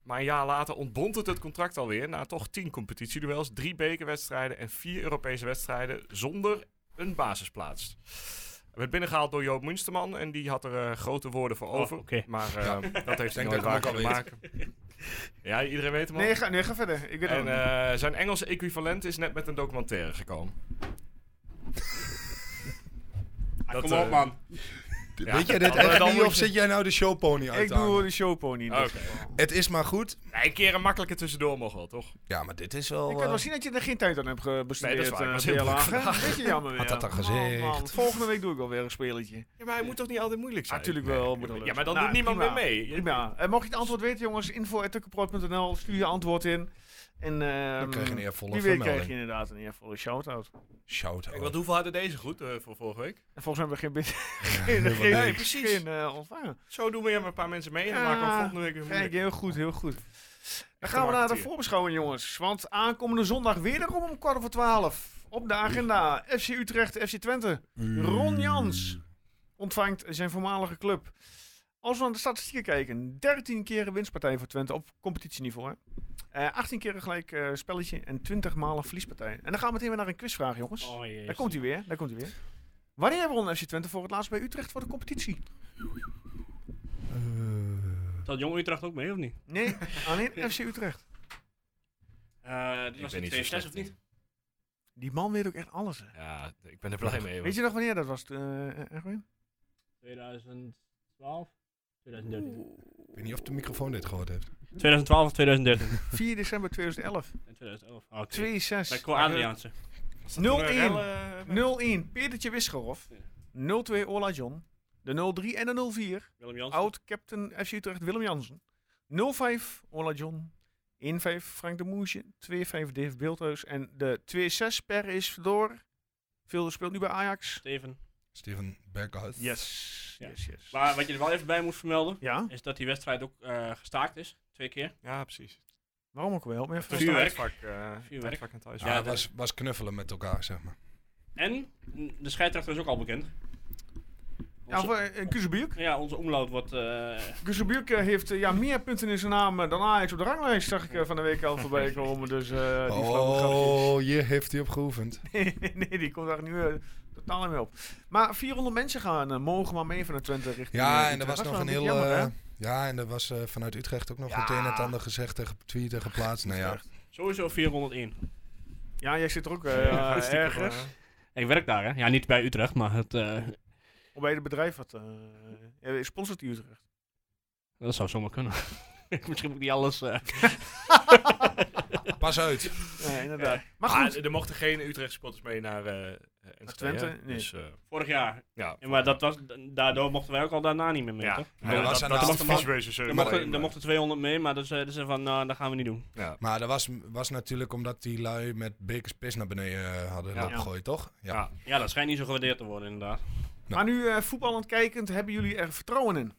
S4: Maar een jaar later ontbond het het contract alweer na toch 10 competitieduels, 3 bekerwedstrijden en 4 Europese wedstrijden zonder een basisplaats. Hij werd binnengehaald door Joop Munsterman en die had er eh, grote woorden voor over.
S5: oké.
S4: Maar eh,
S6: Oh, Ja.
S4: dat heeft hij
S6: denk
S4: nooit
S6: dat
S4: waar
S6: ik hem
S4: kunnen
S6: ook al
S4: maken. Ja, iedereen weet hem al.
S1: Nee, ga, nee, ga verder. Ik weet het
S4: En
S1: ook niet.
S4: eh, zijn Engelse equivalent is net met een documentaire gekomen. Dat,
S5: Kom op
S4: eh,
S5: man.
S4: ja,
S6: Weet jij
S4: dan-
S6: dit
S4: dan
S6: echt
S4: moet
S6: niet
S4: je-
S6: of zit jij nou de showpony uit
S1: Ik
S6: te hangen?
S1: doe de showpony.
S4: Oké.
S1: Dus.
S6: Het is maar goed.
S4: Nee, een keer een makkelijke tussendoor mogen wel, toch?
S6: Ja, maar dit is
S4: Oh.
S6: wel...
S1: Ik kan wel
S6: eh,
S1: zien dat je er geen tijd aan hebt ge- besteed.
S4: waar, ik
S1: eh,
S4: was heel
S1: bij
S4: druk
S1: Lage. Beetje jammer weer.
S6: Had dat dan
S1: Man,
S6: gezegd.
S1: man, Volgende week doe ik alweer een spelletje.
S4: Ja, maar hij moet toch niet altijd moeilijk zijn? Nou,
S1: Natuurlijk wel. moet wel
S4: Ja, maar dan
S1: lukken.
S4: doet niemand
S1: prima.
S4: meer mee. Je-
S1: Prima. Eh, mocht je het antwoord weten, jongens, info.tukkenproot.nl. Stuur je antwoord in. En ehm,
S6: Dan krijg je een eervolle
S1: die week krijg je
S6: vermelding.
S1: inderdaad een eervolle shout-out.
S6: Shout
S4: Kijk, want hoeveel hadden deze goed eh, voor vorige week?
S1: En volgens mij hebben we geen, bid- geen, geen,
S4: Nee, precies.
S1: geen eh, ontvangen.
S4: Zo doen we hem een paar mensen mee en dan
S1: Ja,
S4: maken we hem volgende week weer
S1: Kijk,
S4: moeilijk.
S1: heel goed, heel goed. Dan
S4: Echte
S1: gaan we naar de
S4: marketeer.
S1: voorbeschouwing, jongens. Want aankomende zondag wederom om kwart over twaalf. Op de agenda FC Utrecht, FC Twente. Ron Jans ontvangt zijn voormalige club. Als we naar de statistieken kijken, 13 keer een winstpartij voor Twente op competitieniveau. Hè? Eh, 18 keer een gelijk eh, spelletje en 20 malen verliespartij. En dan gaan we meteen weer naar een quizvraag, jongens.
S5: Oh, jee.
S1: daar komt hij weer, daar komt hij weer. Wanneer won FC Twente voor het laatst bij Utrecht voor de competitie?
S5: Dat Jong Utrecht ook mee of niet?
S1: Nee, alleen FC Utrecht.
S5: Eh die
S4: Ik
S5: was
S4: ben
S5: in
S4: niet zo
S5: 2006
S4: slecht.
S5: of niet?
S1: Die man weet ook echt alles, hè.
S4: Ja, ik ben er blij mee.
S1: Weet
S4: want-
S1: je nog wanneer dat was, eh Erwin?
S5: 2012? 2013.
S6: Ik weet niet of de microfoon dit gehoord heeft.
S5: 2012 of 2013?
S1: 4 december 2011.
S5: En 2011. Ah, Oké.
S1: 2-6.
S5: Bij Cor Adriaanse.
S4: Was dat toen een
S1: 0-1.
S4: rel, eh,
S1: 0-1, Petertje Wisgerhof. 0-2, Ola John. De 0-3 en de 0-4.
S5: eh, Willem Jansen.
S1: Oud-captain FC Utrecht Willem Jansen. 0-5, Ola John. 1-5, Frank de Moesje. 2-5, Dave Beeldhuis. En de 2-6 per is door. Veel speelt nu bij Ajax.
S5: Steven.
S6: Steven Berghuis.
S1: Yes.
S5: Ja.
S1: Yes, yes.
S5: Maar wat je er wel even bij moet vermelden,
S1: Ja,
S5: is dat die wedstrijd ook eh, gestaakt is. Twee keer.
S4: Ja, precies.
S1: waarom ook wel? Maar even-
S4: Tussen
S5: Vuurwerk.
S4: het vak, eh,
S5: Vuurwerk.
S4: het vak en thuis.
S6: Ja,
S5: Ja,
S6: het Ah, was, was knuffelen met elkaar, zeg maar.
S5: En de scheidsrechter is ook al bekend.
S1: Ja, voor, eh, Kuzebuurk.
S5: Ja, onze omloop wordt. eh,
S1: Kuzebuurk eh, heeft eh, ja, meer punten in zijn naam eh, dan Ajax op de ranglijst, zag ik eh, van de week al voorbij komen. Dus, eh, die flauwe grapjes.
S6: Oh, hier heeft hij op geoefend.
S1: nee, die komt daar nu eh, totaal niet meer op. Maar 400 mensen gaan eh, mogen maar mee van de Twente richting
S6: Ja,
S1: eh,
S6: en er
S1: Utrecht.
S6: was
S1: Dat
S6: nog een
S1: is wel
S6: heel...
S1: beetje jammer,
S6: eh,
S1: hè?
S6: ja, en er was eh, vanuit Utrecht ook nog
S1: Ja.
S6: meteen het ander gezegd en getweet en geplaatst. Nou ja,
S5: sowieso 401.
S1: Ja, jij zit er ook eh,
S4: Ja, stiekem,
S1: ergens.
S4: eh,
S5: Ik werk daar, hè? Ja, niet bij Utrecht, maar het, eh,
S1: Of bij het bedrijf wat eh, ja, sponsort die Utrecht.
S5: dat zou zomaar kunnen. Misschien moet ik niet alles. eh,
S6: pas uit.
S1: Ja, inderdaad. Maar
S6: Ah,
S4: Maar
S1: goed,
S4: Ah, er mochten geen Utrecht supporters mee naar eh, eh, Enschede.
S1: Twente?
S4: hè?
S1: Nee.
S4: Dus, eh,
S5: Vorig jaar.
S4: ja.
S5: Ja, maar dat was, daardoor mochten wij ook al daarna niet meer mee, toch?
S6: Ja, dat was aan de
S4: is
S6: hand
S4: de
S6: van-
S4: visuele serie.
S5: Er mochten, er mochten 200 mee, maar dus, eh, dus van, nou, dat gaan we niet doen.
S4: Ja.
S6: Maar dat was, was natuurlijk omdat die lui met bekers pis naar beneden eh, hadden
S4: Ja.
S6: opgegooid, toch? Ja.
S4: Ja.
S5: Ja, dat schijnt niet zo gewaardeerd te worden, inderdaad.
S6: nou.
S1: maar nu eh, voetballend kijkend, hebben jullie er vertrouwen in?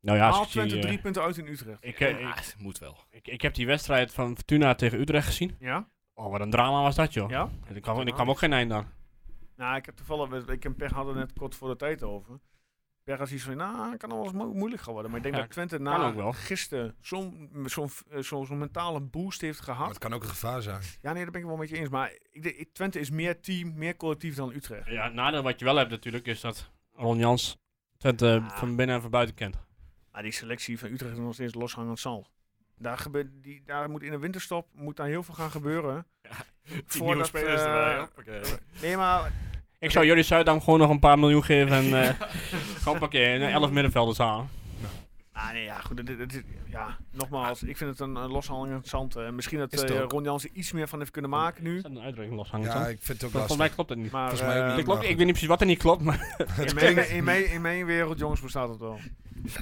S5: Nou ja,
S1: Haal
S5: ik, zie,
S1: Twente
S5: eh,
S1: drie punten uit in Utrecht.
S5: ik, eh,
S4: Ja,
S5: ik,
S4: Ah, het moet wel.
S5: ik, ik heb die wedstrijd van Fortuna tegen Utrecht gezien.
S1: Ja?
S5: Oh, wat een drama was dat, joh.
S1: Ja?
S5: En Er kwam, er kwam ook geen eind aan.
S1: Nou, ik heb toevallig, ik en Pech hadden het net kort voor de tijd over. Pech had iets van, nou, kan nog wel eens mo- moeilijk gaan worden. Maar ik denk
S5: Ja,
S1: dat Twente
S5: ook wel.
S1: na gisteren zo'n zo'n eh, zo'n- zo'n mentale boost heeft
S6: Maar
S1: gehad.
S6: het kan ook een gevaar zijn.
S1: Ja, nee, daar ben ik wel met je eens. Maar ik, denk- ik- Twente is meer team, meer collectief dan Utrecht.
S5: Ja, het nadeel wat je wel hebt natuurlijk is dat Ron Jans Twente
S1: Ah.
S5: van binnen en van buiten kent.
S1: Maar die selectie van Utrecht is nog steeds loshangend zal. Daar, gebeurt die, daar moet in de winterstop moet daar heel veel gaan gebeuren.
S4: Tien nieuwe
S1: Voordat,
S4: spelers
S1: eh,
S4: erbij. hoppakee.
S1: Nee, maar
S5: Ik zou jullie Zuidam gewoon nog een paar miljoen geven en eh, gewoon parkeren en 11 middenvelders halen.
S1: Ah, nee, ja, goed. dit- dit- dit- ja, nogmaals, ik vind het een, een loshangend zand. eh. misschien dat
S6: Ah. Is het
S1: eh,
S6: ook.
S1: Ron Jansen iets meer van heeft kunnen maken nu.
S5: Is dat een uitdrukking loshangen?
S6: Ja,
S5: Ja,
S6: ik vind het ook
S5: Volgens mij
S6: lastig.
S5: klopt dat niet.
S1: Maar
S6: Volgens mij ook
S1: eh,
S6: niet.
S5: Dat klopt, ik weet niet precies wat er niet klopt, maar
S1: in, mijn, in, mijn, in mijn wereld, jongens, bestaat het wel.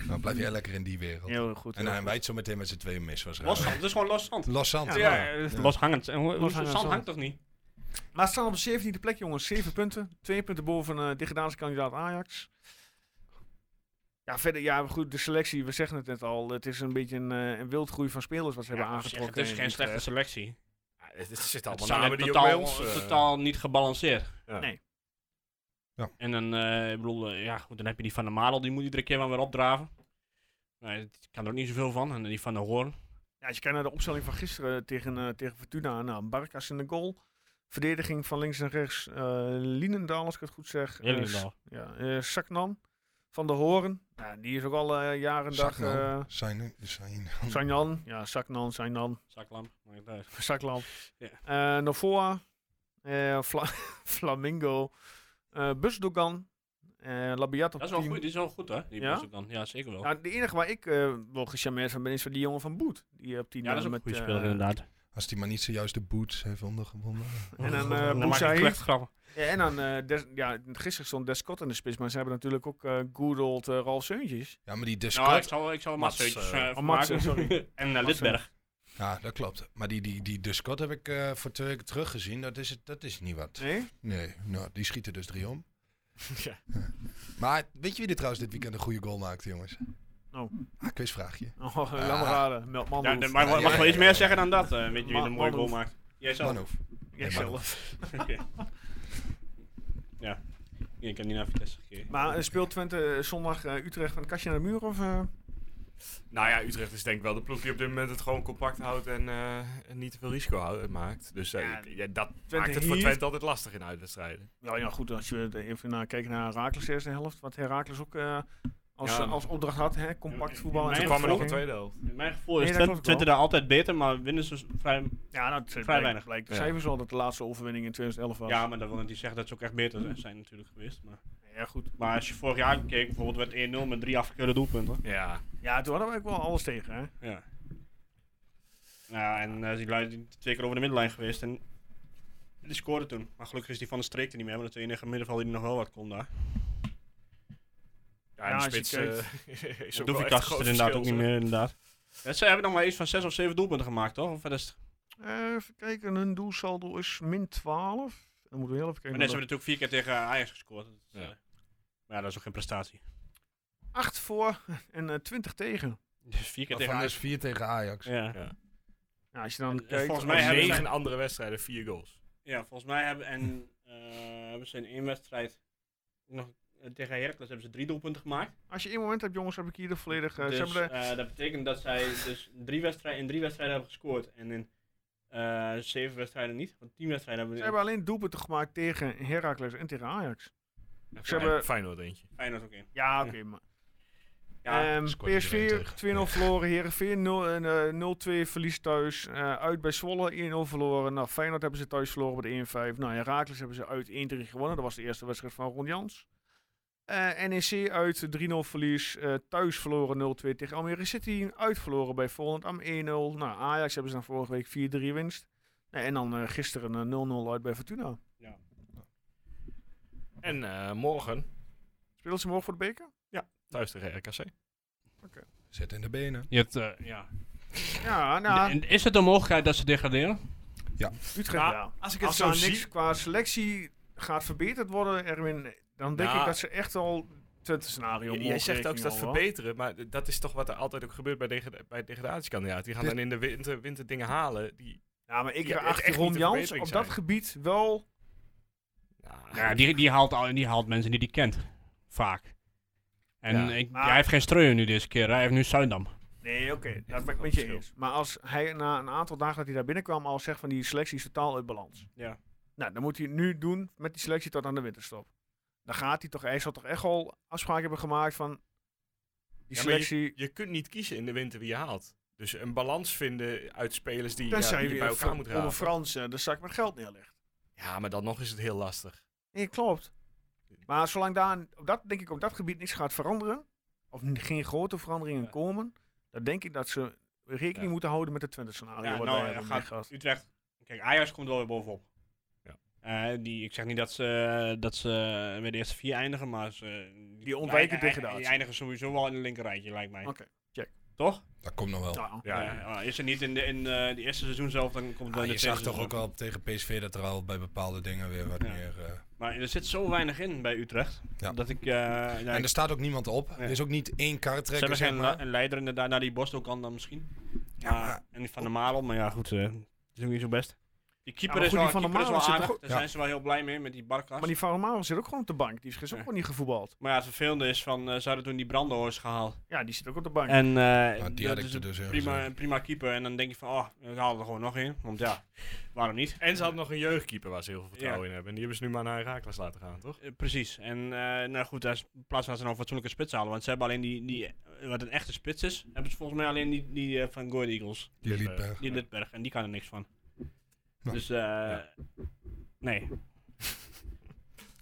S6: Nou, blijf jij lekker in die wereld.
S1: Heel goed.
S6: En
S1: heel
S6: hij
S1: goed.
S6: wijt zo meteen met z'n tweeën mis, waarschijnlijk.
S5: loshand, het is gewoon loshand.
S6: Los Zand.
S1: Ja,
S5: Ja, eh, loshangend. En hoe- hoe-
S1: Loshangend
S5: Zand
S1: zand.
S5: hangt toch niet?
S1: Maar ze staan op de 17e plek, jongens. 7 punten. 2 punten boven eh de Gedaanse kandidaat Ajax. Ja, verder, ja, goed, de selectie, we zeggen het net al. Het is een beetje een, eh, een wildgroei van spelers wat ze hebben aangetrokken.
S5: het is
S1: en
S5: geen
S1: die-
S5: slechte selectie.
S4: Ja, het, het zit
S5: Het
S4: allemaal
S5: zijn
S4: namen die ook bij
S5: totaal,
S4: ons... eh,
S5: totaal niet gebalanceerd.
S4: Ja.
S1: Nee.
S6: Ja.
S5: En dan, eh, ik bedoel, eh, ja goed, dan heb je die van de Marel, die moet iedere keer maar weer opdraven. Nee, ik kan er ook niet zoveel van. En die van de Hoorn.
S1: Ja, als je kijkt naar de opstelling van gisteren tegen, eh, tegen Fortuna. Nou, Barkas in de goal. Verdediging van links en rechts. eh Linendaal, als ik het goed zeg. Eh, Ja, eh, Saknan van de Horen. Ja, die is ook al eh jaren en dag. eh
S6: Saknan. Zijn, zijn.
S1: Sanjan. Ja, Saknan, Sanjan.
S5: Zaklamp. eh, maakt het uit.
S1: Saklan.
S5: Ja.
S1: Eh, Novoa. eh, Fla- Flamingo. eh Busdogan. eh, Labiat op
S5: Dat is wel
S1: tien.
S5: goed, die is wel goed hè? Die
S1: Ja?
S5: ja? dan. Ja, zeker wel.
S1: Nou, de enige waar ik eh, wel gecharmeerd van ben is van die jongen van Boet. Die op 10
S5: Ja, dat is ook
S1: met,
S5: een goede
S1: eh,
S5: speler inderdaad.
S6: Als die maar niet zojuist de boots heeft ondergewonnen.
S1: En dan
S5: Dan
S1: eh
S5: maak ik
S1: Boussaïd.
S5: slecht grappen.
S1: Ja, en dan, eh, Des- ja, gisteren stond Descott in de spits, maar ze hebben natuurlijk ook eh good old eh, Ralf Seuntjes.
S6: Ja, maar die
S5: Nou, ik
S6: Descott.
S5: zal, ik zal
S4: Mats,
S5: Mats
S4: eh,
S5: uh,
S1: oh, Mats,
S5: sorry. En uh, Lidberg.
S6: Ja, dat klopt. Maar die, die, die Descott heb ik eh, voor twee weken teruggezien. Dat is, het, dat is niet wat.
S1: Nee?
S6: Nee, nou, die schieten dus drie om.
S4: Ja.
S6: Maar weet je wie er trouwens dit weekend een goede goal maakte, jongens?
S1: Oh.
S6: Ah, quizvraagje.
S1: Oh, laat me raden. Meld man.
S5: Ja, de- maar wa-
S6: Ja,
S5: mag
S6: ja,
S5: wel iets
S6: ja,
S5: meer
S6: ja.
S5: zeggen dan dat. eh, weet je wie
S1: Ma-
S5: een mooie goal
S1: Manhoef.
S5: maakt? Jij zelf.
S6: Manhoef.
S1: Jijzelf.
S5: Oké. Ja. Ja, Ik heb niet naar Vitesse gekeken.
S1: Maar eh, speelt Twente eh, zondag eh, Utrecht een kastje naar de muur? Of, eh?
S4: Nou ja, Utrecht is denk ik wel de ploeg die op dit moment het gewoon compact houdt en, eh, en niet te veel risico hou- maakt. Dus eh,
S1: Ja,
S4: ik- ja, dat
S1: Twente
S4: maakt het voor
S1: hier-
S4: Twente altijd lastig in uitwedstrijden.
S1: ja, ja, goed. Als je eh, even naar, kijkt naar Herakles eerste helft, wat Herakles ook eh, als,
S4: Ja.
S1: eh, als opdracht had, hè, compact
S5: Ja,
S1: voetbal.
S5: in
S1: en
S4: Toen
S5: mijn
S4: kwam er nog een
S5: gevoel-
S4: tweede helft.
S5: In mijn gevoel is
S1: Nee, dat
S5: Twen-
S1: klopt wel.
S5: Twente daar altijd beter, maar winnen ze s- vrij...
S1: Ja, nou, het blijkt-
S5: weinig.
S1: Blijkt de
S4: Ja.
S1: cijfers al dat de laatste overwinning in 2011 was.
S5: Ja, maar dat wil niet zeggen dat ze ook echt beter zijn- zijn natuurlijk geweest. Maar,
S1: ja goed.
S5: maar als je vorig jaar keek, bijvoorbeeld werd 1-0 met drie afgekeurde doelpunten.
S4: Ja,
S1: Ja, toen hadden we ook wel alles tegen, hè?
S5: Ja. Nou, en eh, die lui die twee keer over de middenlijn geweest en die scoorde toen. Maar gelukkig is die van de streek er niet meer, want het enige middenveld die er nog wel wat kon daar.
S4: ja, en
S1: als
S4: de
S1: je
S4: spits
S1: kijkt-
S4: eh, is ook wel echt een
S5: Doefikas is
S4: groot
S5: er inderdaad
S4: verschil,
S5: ook niet
S4: zeg.
S5: meer, inderdaad. Ja, Ze hebben nog maar iets van zes of zeven doelpunten gemaakt, toch? Of verder is het-
S1: Eh, even kijken, hun doelsaldo is min 12. Dan moeten we heel even kijken. naar
S5: Maar net
S1: de-
S5: hebben we natuurlijk vier keer tegen eh, Ajax gescoord. Dat
S4: Ja.
S5: is, eh, Maar ja, dat is ook geen prestatie.
S1: 8 voor en eh, 20 tegen.
S5: Dus vier keer tegen
S6: Van dus
S5: Ajax.
S6: 4 tegen Ajax.
S5: Ja.
S4: Ja.
S1: Ja, als je dan
S5: En, eh,
S1: kijkt.
S5: volgens
S1: als-
S5: mij hebben ze-
S4: Negen andere wedstrijden, vier goals.
S5: ja, volgens mij hebben, en, eh, hebben ze in één wedstrijd nog, eh, tegen Heracles hebben ze drie doelpunten gemaakt.
S1: Als je één moment hebt, jongens, heb ik hier de volledige. ze
S5: Dus,
S1: hebben de-
S5: eh, dat betekent dat zij dus drie wedstrijden, in drie wedstrijden hebben gescoord. En in eh, zeven wedstrijden niet. Want tien wedstrijden
S1: ze
S5: hebben we
S1: hebben alleen doelpunten gemaakt tegen Heracles en tegen Ajax.
S4: En
S1: Ze hebben-
S4: Feyenoord eentje.
S5: Feyenoord ook in.
S1: Ja,
S5: Ja.
S1: oké. maar-
S5: Ja,
S1: Ehm,
S6: scoort iedereen
S1: PSV
S6: tegen.
S1: 2-0 verloren, Heerenveen 0 en, eh, 0-2 verlies thuis. Eh, uit bij Zwolle 1-0 verloren. Nou, Feyenoord hebben ze thuis verloren met 1-5. Nou, Heracles hebben ze uit 1-3 gewonnen. Dat was de eerste wedstrijd van Ron Jans. Eh, NEC uit 3-0 verlies. Eh, thuis verloren 0-2 tegen Almere City. Uit verloren bij Volendam am 1-0. Nou, Ajax hebben ze dan vorige week 4-3 winst. Nou, en dan eh, gisteren eh, 0-0 uit bij Fortuna.
S4: En eh, morgen
S1: Speelt ze morgen voor de beker?
S4: thuis tegen RKC.
S6: Zet in de benen.
S5: je hebt, eh, ja.
S1: Ja, nou,
S5: En Is het een mogelijkheid dat ze degraderen?
S1: Utrecht
S4: Nou,
S1: ja.
S4: Als ik
S1: Als er niks qua selectie gaat verbeterd worden, Erwin, dan denk
S4: Nou,
S1: ik dat ze echt al Twente scenario
S4: J- Jij
S1: mogen
S4: zegt ook
S1: rekenen
S4: dat
S1: al, hoor.
S4: verbeteren, maar d- dat is toch wat er altijd ook gebeurt bij, degra bij degradatiekandidaten. Die gaan
S6: Dit-
S4: dan in de winter, winter dingen halen. Die,
S1: Ja, Nou, maar ik
S4: Ja, echt
S1: achter
S4: niet
S1: Ron
S4: de
S1: Jans
S4: verbetering
S1: op dat
S4: zijn.
S1: gebied wel.
S5: Ja, die, die, haalt al, die haalt mensen die die kent. Vaak. En eh,
S4: Ja.
S5: ik,
S1: Maar-
S5: hij heeft geen streuer nu deze keer. Hij heeft nu Zuidam.
S1: Nee, oké, dat ben ik
S4: groot
S1: met je
S4: verschil.
S1: eens. Maar als hij na een aantal dagen dat hij daar binnenkwam al zegt van die selectie is totaal uit balans.
S5: Ja.
S1: Nou, dan moet hij het nu doen met die selectie tot aan de winterstop. Dan gaat hij toch, hij zal toch echt al afspraken hebben gemaakt van die
S4: Ja, maar
S1: selectie.
S4: Je kunt niet kiezen in de winter wie je haalt. Dus een balans vinden uit spelers die, ja,
S1: Tenzij
S4: die
S1: je
S4: je bij elkaar moet
S1: onder
S4: halen.
S1: Frans eh, de zak met geld neerlegt.
S4: Ja, maar dan nog is het heel lastig.
S1: Nee, klopt. Maar zolang daar op dat, denk ik, op dat gebied niks gaat veranderen, of n- geen grote veranderingen
S5: Ja.
S1: komen, dan denk ik dat ze rekening
S4: Ja.
S1: moeten houden met het Twente-scenario.
S5: Ja,
S1: wat
S5: nou,
S1: wij
S5: ja,
S1: hebben
S5: gaat
S1: meegehad.
S5: Utrecht. Kijk, Ajax komt wel weer bovenop.
S4: Ja.
S5: Eh, die, ik zeg niet dat ze, eh, dat ze eh, bij de eerste vier eindigen, maar ze,
S1: Die ontwijken
S5: die ei- ei-
S1: degradatie.
S5: Die eindigen sowieso wel in een linkerrijtje, lijkt mij.
S1: Oké, check.
S5: Toch?
S6: Dat komt nog wel.
S1: Ja.
S5: Ja, ja, Eh, ah, is er niet in, de, in eh de eerste seizoen zelf, dan komt het wel
S6: Ah,
S5: in
S6: je
S5: het
S6: zag
S5: tweede
S6: toch ook
S5: seizoen.
S6: wel tegen PSV dat er al bij bepaalde dingen weer wat
S5: Ja.
S6: meer... eh,
S5: Maar er zit zo weinig in bij Utrecht.
S6: Ja.
S5: Dat ik, eh, ja,
S6: en
S5: ik-
S6: er staat ook niemand op. Er is ook niet één
S5: ze hebben
S6: kartrekker, zeg
S5: geen la-
S6: maar.
S5: een leider inderdaad, naar die Bostel kan dan misschien. Ja,
S6: maar-
S5: en die Van der Malen, maar ja goed, eh, dat is ook niet zo best. Die keeper
S1: maar
S5: is
S1: goed,
S5: wel,
S1: die Van der
S5: keeper is wel
S1: Malen zit
S5: aardig,
S1: toch
S5: daar
S1: ook-
S5: zijn
S6: Ja.
S5: ze wel heel blij mee met die Barkas.
S1: Maar die Van Marel zit ook gewoon op de bank. Die is ook
S5: Ja.
S1: gewoon niet gevoetbald.
S5: Maar ja, het vervelende is, van, eh, ze hadden toen die brandenhoors gehaald.
S1: Ja, die zit ook op de bank.
S5: En eh,
S6: die
S5: dat
S6: had ik
S5: is
S6: er
S5: een
S6: dus in
S5: prima,
S6: gezet.
S5: een prima keeper. En dan denk je van, oh, we halen er gewoon nog in. Want ja, waarom niet?
S4: En ze hadden nog een jeugdkeeper waar ze heel veel vertrouwen in hebben. En die hebben ze nu maar naar Herakles laten gaan, toch?
S5: Eh, precies. En eh, nou goed, daar is- in plaats van ze nou een fatsoenlijke spits halen. Want ze hebben alleen die, die eh, wat een echte spits is, hebben ze volgens mij alleen die, die eh, van Goat Eagles.
S6: Die
S4: Dit, eh,
S6: Liedberg.
S5: Die Lidberg. En die kan er niks van.
S6: Nou.
S5: Dus eh nee.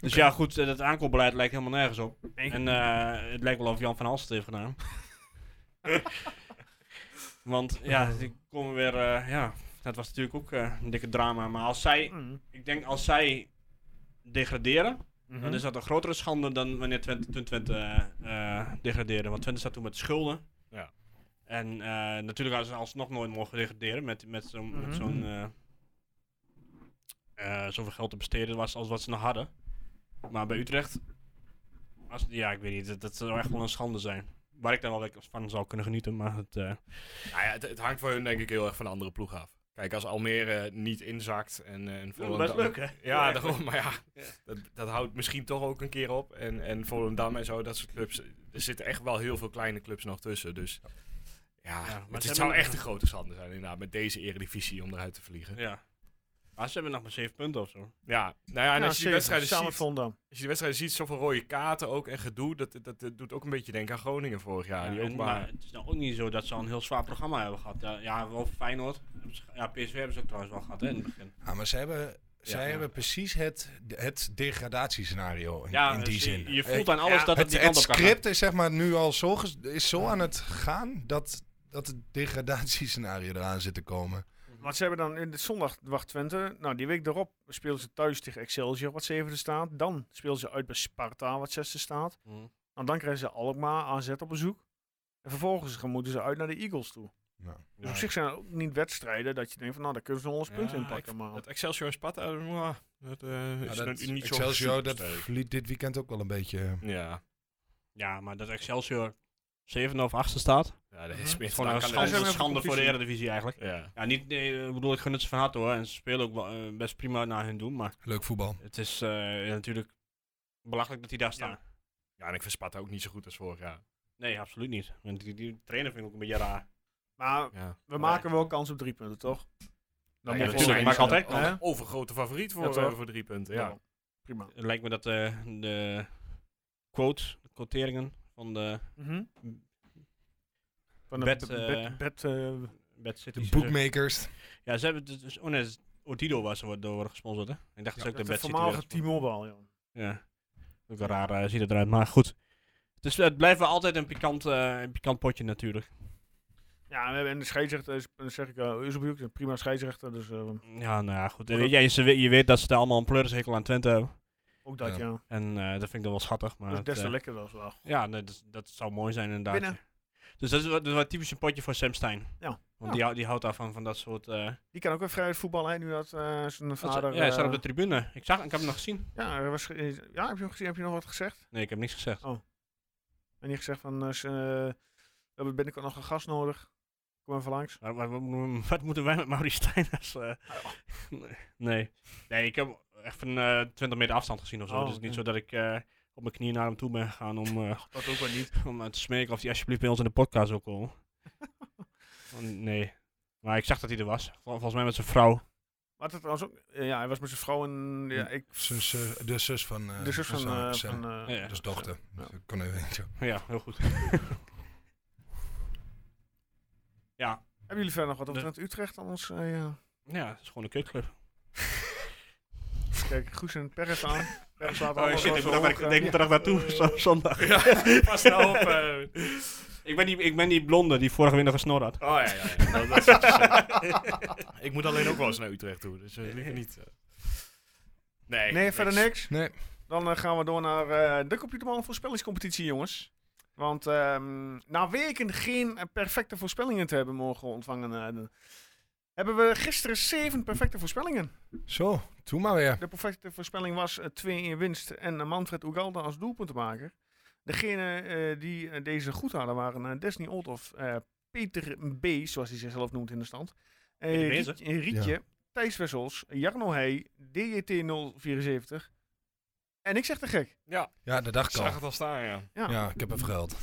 S5: Dus ja, goed, eh, dat aankoopbeleid lijkt helemaal nergens op.
S1: Nee.
S5: En eh, het lijkt wel of Jan van Halst het heeft gedaan. Want ja, die komen weer, eh, ja, dat was natuurlijk ook eh, een dikke drama. Maar als zij,
S1: Mm.
S5: ik denk als zij degraderen,
S1: Mhm.
S5: dan is dat een grotere schande dan wanneer Twente, toen Twente eh, eh, degradeerde. Want Twente zat toen met schulden.
S4: Ja.
S5: En eh, natuurlijk hadden ze alsnog nooit mogen degraderen met, met zo'n met
S1: Mhm.
S5: zo'n, eh, eh, zoveel geld te besteden was als wat ze nog hadden. Maar bij Utrecht, als, ja, ik weet niet, dat, dat zou echt wel een schande zijn. Waar ik dan wel weer van zou kunnen genieten, maar het... eh,
S4: Nou ja, het, het hangt voor hun denk ik heel erg van de andere ploeg af. Kijk, als Almere niet inzakt en, eh, en Volendam...
S5: hè?
S4: Ja,
S5: Ja,
S4: daarom, maar ja,
S5: Ja.
S4: dat, dat houdt misschien toch ook een keer op. En, en Volendam en zo, dat soort clubs. Er zitten echt wel heel veel kleine clubs nog tussen. Dus ja,
S5: maar
S4: het,
S5: ze
S4: het zou
S5: hebben-
S4: echt een grote schande zijn inderdaad met deze eredivisie om eruit te vliegen. Ja,
S5: Ja. Maar ze hebben nog maar 7 punten of zo.
S4: nou ja, en
S1: Ja,
S4: als je die
S1: zeker.
S4: wedstrijden
S1: Samen
S4: ziet,
S1: Volendam.
S4: als je die wedstrijden ziet, zoveel rode kaarten ook en gedoe. Dat, dat, dat doet ook een beetje denken aan Groningen vorig jaar. die ook
S5: en-
S4: maar,
S5: het is nou ook niet zo dat ze al een heel zwaar programma hebben gehad. Ja, ja wel Feyenoord. Hebben ze ge- Ja, PSV hebben ze ook trouwens wel gehad hè, in het begin.
S6: Ja, Ah, maar ze hebben, zij
S5: ja.
S6: hebben precies het, het degradatiescenario in,
S5: Ja,
S6: in die
S5: dus
S6: zin.
S5: Je, je
S6: Eh,
S5: voelt aan alles dat het
S6: het,
S5: die
S6: het
S5: kant op kan gaan.
S6: script is zeg maar nu al zo, ges- is zo aan het gaan dat, dat het degradatiescenario eraan zit te komen.
S1: Want ze hebben dan in de zondag wacht Twente. Nou, die week daarop spelen ze thuis tegen Excelsior, wat zevende staat. Dan spelen ze uit bij Sparta, wat zesde staat.
S5: Mhm.
S1: En dan krijgen ze Alkmaar, AZ op bezoek. En vervolgens gaan- moeten ze uit naar de Eagles toe.
S6: Ja.
S1: Dus op zich zijn het ook niet wedstrijden dat je denkt van nou, daar kunnen ze nog wel eens punten in pakken. Maar
S4: Dat Excelsior en Sparta, eh, mwah, dat eh, is
S6: Ja, Nou, dat,
S4: nu niet zo
S6: Excelsior, dat
S4: supersterk.
S6: verliet dit weekend ook wel een beetje. eh,
S4: Ja,
S5: Ja, maar dat Excelsior 7 of 8 staat.
S4: ja dat
S1: Mhm.
S4: is meer
S5: Gewoon een
S1: Ja,
S5: schande,
S1: ze hebben
S5: schande voor de
S1: competitie.
S5: Eredivisie eigenlijk.
S4: Ja.
S5: Ja, niet, nee, eh, ik bedoel, ik gun het ze van harte hoor. En ze spelen ook wel, eh, best prima naar hun doen. Maar
S6: Leuk voetbal.
S5: het is eh, natuurlijk belachelijk dat die daar staan.
S4: ja, en ik vind Sparta ook niet zo goed als vorig jaar.
S5: Nee, absoluut niet. Want die, die trainer vind ik ook een beetje raar.
S1: Maar
S4: Ja.
S1: we maken wel kans op drie punten, toch? Dan
S4: ja,
S1: moet
S4: natuurlijk,
S1: je
S4: maar ik had
S5: altijd
S1: kans.
S4: overgrote favoriet voor,
S1: Ja, toch?
S4: eh, voor drie punten. Ja.
S1: Prima.
S5: Het lijkt me dat eh, de quotes, de quoteringen van de
S1: Mhm. Van de
S5: Bed,
S1: bed,
S5: eh,
S1: bed, bed, eh,
S5: Bad City.
S6: De bookmakers.
S5: Ja, ze hebben het dus. Oh nee, Odido was er door gesponsord, hè? Ik dacht dat ze ook de
S1: dat
S5: Bad City werden
S1: voormalige
S5: gesponsord.
S1: T-Mobile, joh.
S5: Ja. Ook een raar eh, ziet het eruit, maar goed. Dus het blijft wel altijd een pikant, eh, een pikant potje natuurlijk.
S1: Ja, en we hebben- en de scheidsrechter is, dan zeg ik, eh Uzebroek, een prima scheidsrechter, dus eh,
S5: Ja, nou ja, goed. Eh, ja, ze we- je weet dat ze daar allemaal een pleurishekel aan Twente hebben.
S1: ook dat,
S6: Ja.
S1: ja.
S5: En eh, dat vind ik dan wel schattig. Maar
S1: Dus
S5: het,
S1: des te
S5: eh,
S1: lekkerder als wel.
S5: ja, nee, dat, dat zou mooi zijn inderdaad.
S1: Winnen.
S5: Dus dat is wat, dat is wat typisch een potje voor Sam Stein.
S1: Ja.
S5: Want Die, hou- die houdt daarvan, van dat soort... eh,
S1: Die kan ook weer vrijheid voetballen, hè, nu dat eh, zijn
S5: wat ze-
S1: vader...
S5: ja, hij staat op
S1: eh,
S5: de tribune. Ik, zag, ik heb hem nog gezien.
S1: ja, hij was, ge- ja, heb je nog gezien, heb je nog wat gezegd?
S5: Nee, ik heb niks gezegd.
S1: En die gezegd van, eh, ze, eh, we hebben binnenkort nog een gast nodig. Kom even langs.
S5: Maar, maar- wat- wat moeten wij met Maurice Steiners? eh? nee. nee, ik heb echt van eh 20 meter afstand gezien of zo.
S1: Oh,
S5: dus het is niet
S1: oké.
S5: zo dat ik eh, op mijn knieën naar hem toe ben gegaan om, eh,
S1: Dat ook wel niet.
S5: om eh, te smeken of hij alsjeblieft bij ons in de podcast wil komen. Want nee. Maar ik zag dat hij er was. Vol- volgens mij met zijn vrouw.
S1: Maar dat trouwens ook, eh, ja, hij was met zijn vrouw en, ja, ik,
S6: Zus, eh, de zus van. eh,
S1: de zus van,
S6: Sam-
S1: eh,
S6: Sam.
S1: van eh,
S5: Ja,
S6: Dus dochter.
S1: Ja.
S6: Dus ik kon even-
S5: ja, heel goed. ja.
S1: Hebben jullie verder nog wat over
S5: De-
S1: Trent Utrecht? Anders, eh, ja.
S5: ja, het is gewoon een kutclub.
S1: Kijk, Goes en Perres aan. Perres laat
S5: Oh
S1: allemaal
S5: shit, ik
S1: zo
S5: moet er,
S1: hoog,
S5: ik,
S1: eh,
S5: ik moet er echt naartoe z- zondag.
S4: Pas nou op. eh.
S5: Ik ben, die, ik ben die blonde die vorige winter gesnor had.
S4: Oh ja, ja. ja. Dat, dat is wat je zegt. ik moet alleen ook wel eens naar Utrecht toe, dus eh, liever niet. eh. Nee,
S1: Nee, verder niks.
S6: Nee.
S1: Dan eh, gaan we door naar eh, de Computerman voorspellingscompetitie, jongens. Want ehm, na weken geen eh, perfecte voorspellingen te hebben mogen ontvangen, eh, hebben we gisteren zeven perfecte voorspellingen.
S6: Zo, doe maar weer.
S1: De perfecte voorspelling was eh, 2-1 winst en eh, Manfred Ugalda als doelpuntmaker. Degene eh, die eh, deze goed hadden waren eh, Desni Oldhoff, eh, Peter B., zoals hij zichzelf noemt in de stand. eh,
S5: Peter B is
S1: Riet- eh, Rietje,
S6: Ja.
S1: Thijs Wessels, Jarno Heij, DJT074. En ik zeg te gek.
S6: Ja, dat dacht
S4: Ik
S6: ik al.
S4: zag het al staan, ja.
S6: Ja, ik heb even geld.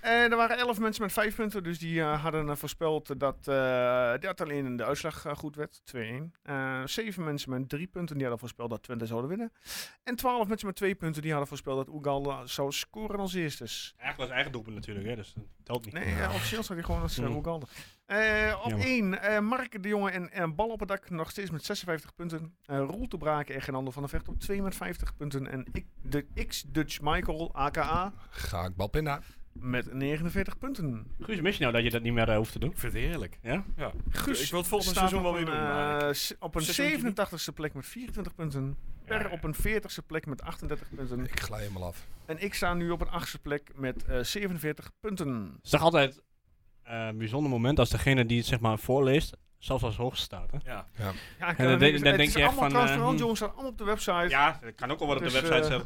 S1: Eh, er waren elf mensen met vijf punten, dus die eh, hadden eh, voorspeld dat, eh, dat alleen de uitslag eh, goed werd, 2-1. Eh, zeven mensen met drie punten, die hadden voorspeld dat Twente zouden winnen. En twaalf mensen met twee punten, die hadden voorspeld dat Ugalda zou scoren als eerste.
S5: Eigenlijk was eigen doelpunt natuurlijk, hè, dus dat telt niet.
S1: Nee, eh, officieel staat hij gewoon als uh,
S5: Hmm.
S1: Oeganda. Eh, op
S5: Jammer.
S1: 1, Mark de Jonge en, en Bal op het dak nog steeds met 56 punten. Eh Roel te Braken en Genander van der Vecht op 2 met 50 punten. En ik, de X-Dutch Michael, aka,
S6: Ga ik balpinda.
S1: met 49 punten.
S5: Guus, mis je nou dat je dat niet meer eh, hoeft te doen?
S4: Ik vind het heerlijk.
S5: Ja?
S1: Guus
S4: ik wil het volgende
S1: staat
S4: seizoen wel
S1: op
S4: weer
S1: een,
S4: doen. maar ik-
S1: eh, s- op een
S4: Seizoentje niet.
S1: 87ste plek met 24 punten. Per
S4: Ja.
S1: op een 40ste plek met 38 punten.
S6: Ik glij helemaal af.
S1: En ik sta nu op een 8ste plek met eh, 47 punten.
S5: Het is toch altijd eh, een bijzonder moment als degene die het zeg maar voorleest, zelfs als hoogste staat, hè?
S4: ja.
S1: Ja, ik
S5: Ja,
S1: kan er
S5: dan
S1: niks-
S5: denk- dan
S1: het
S5: denk
S1: is
S5: je echt
S1: allemaal
S5: van, eh,
S1: transparant,
S5: hmm.
S1: jongens. staat allemaal op de website.
S5: Ja, dat kan ook al wat
S1: Dus, eh,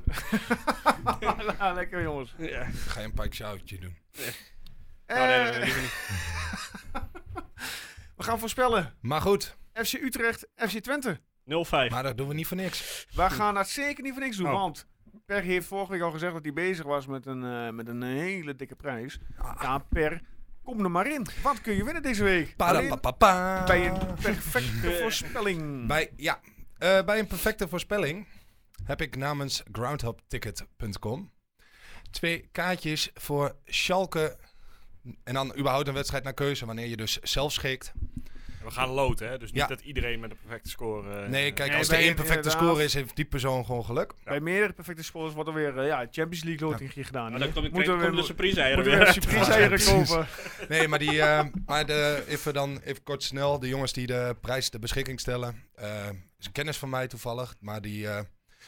S1: Ja, lekker jongens.
S5: Ja.
S6: Ga je een pike shoutje doen.
S5: Nou, nee, nee,
S1: Eh,
S5: nee, liever niet.
S1: we gaan voorspellen.
S6: Maar goed,
S1: FC Utrecht, FC Twente.
S5: 0-5.
S6: maar dat doen we niet voor niks.
S1: We gaan dat zeker niet voor niks doen.
S5: Oh.
S1: Want Per heeft vorige week al gezegd dat hij bezig was met een, eh, met een hele dikke prijs.
S6: Ah.
S1: Ja, Per, kom er maar in. Wat kun je winnen deze week? Alleen
S6: Parapapapa.
S1: bij een perfecte
S5: Eh.
S1: voorspelling.
S6: Bij, ja, eh, bij een perfecte voorspelling heb ik namens groundhopticket.com twee kaartjes voor Schalke. En dan überhaupt een wedstrijd naar keuze, wanneer je dus zelf schikt.
S4: En We gaan loten, hè? Dus niet
S6: Ja.
S4: dat iedereen met een perfecte score... eh,
S6: Nee,
S4: eh,
S6: kijk,
S1: Nee,
S6: als er
S1: bij-
S6: één perfecte
S1: inderdaad.
S6: score is, heeft die persoon gewoon geluk.
S1: Bij meerdere perfecte scores wordt er weer eh, ja, Champions League loting gedaan.
S5: Maar Ah, Nou, dan
S1: hè?
S5: komt
S1: moeten we
S5: kom de
S1: weer,
S5: surprise eieren
S1: moeten we weer
S5: weer.
S1: een surprise eieren
S6: Ja, precies.
S1: kopen.
S6: Nee, maar, die, eh, maar de, even, dan, even kort snel. De jongens die de prijs ter beschikking stellen. eh, is een kennis van mij toevallig. Maar die, eh,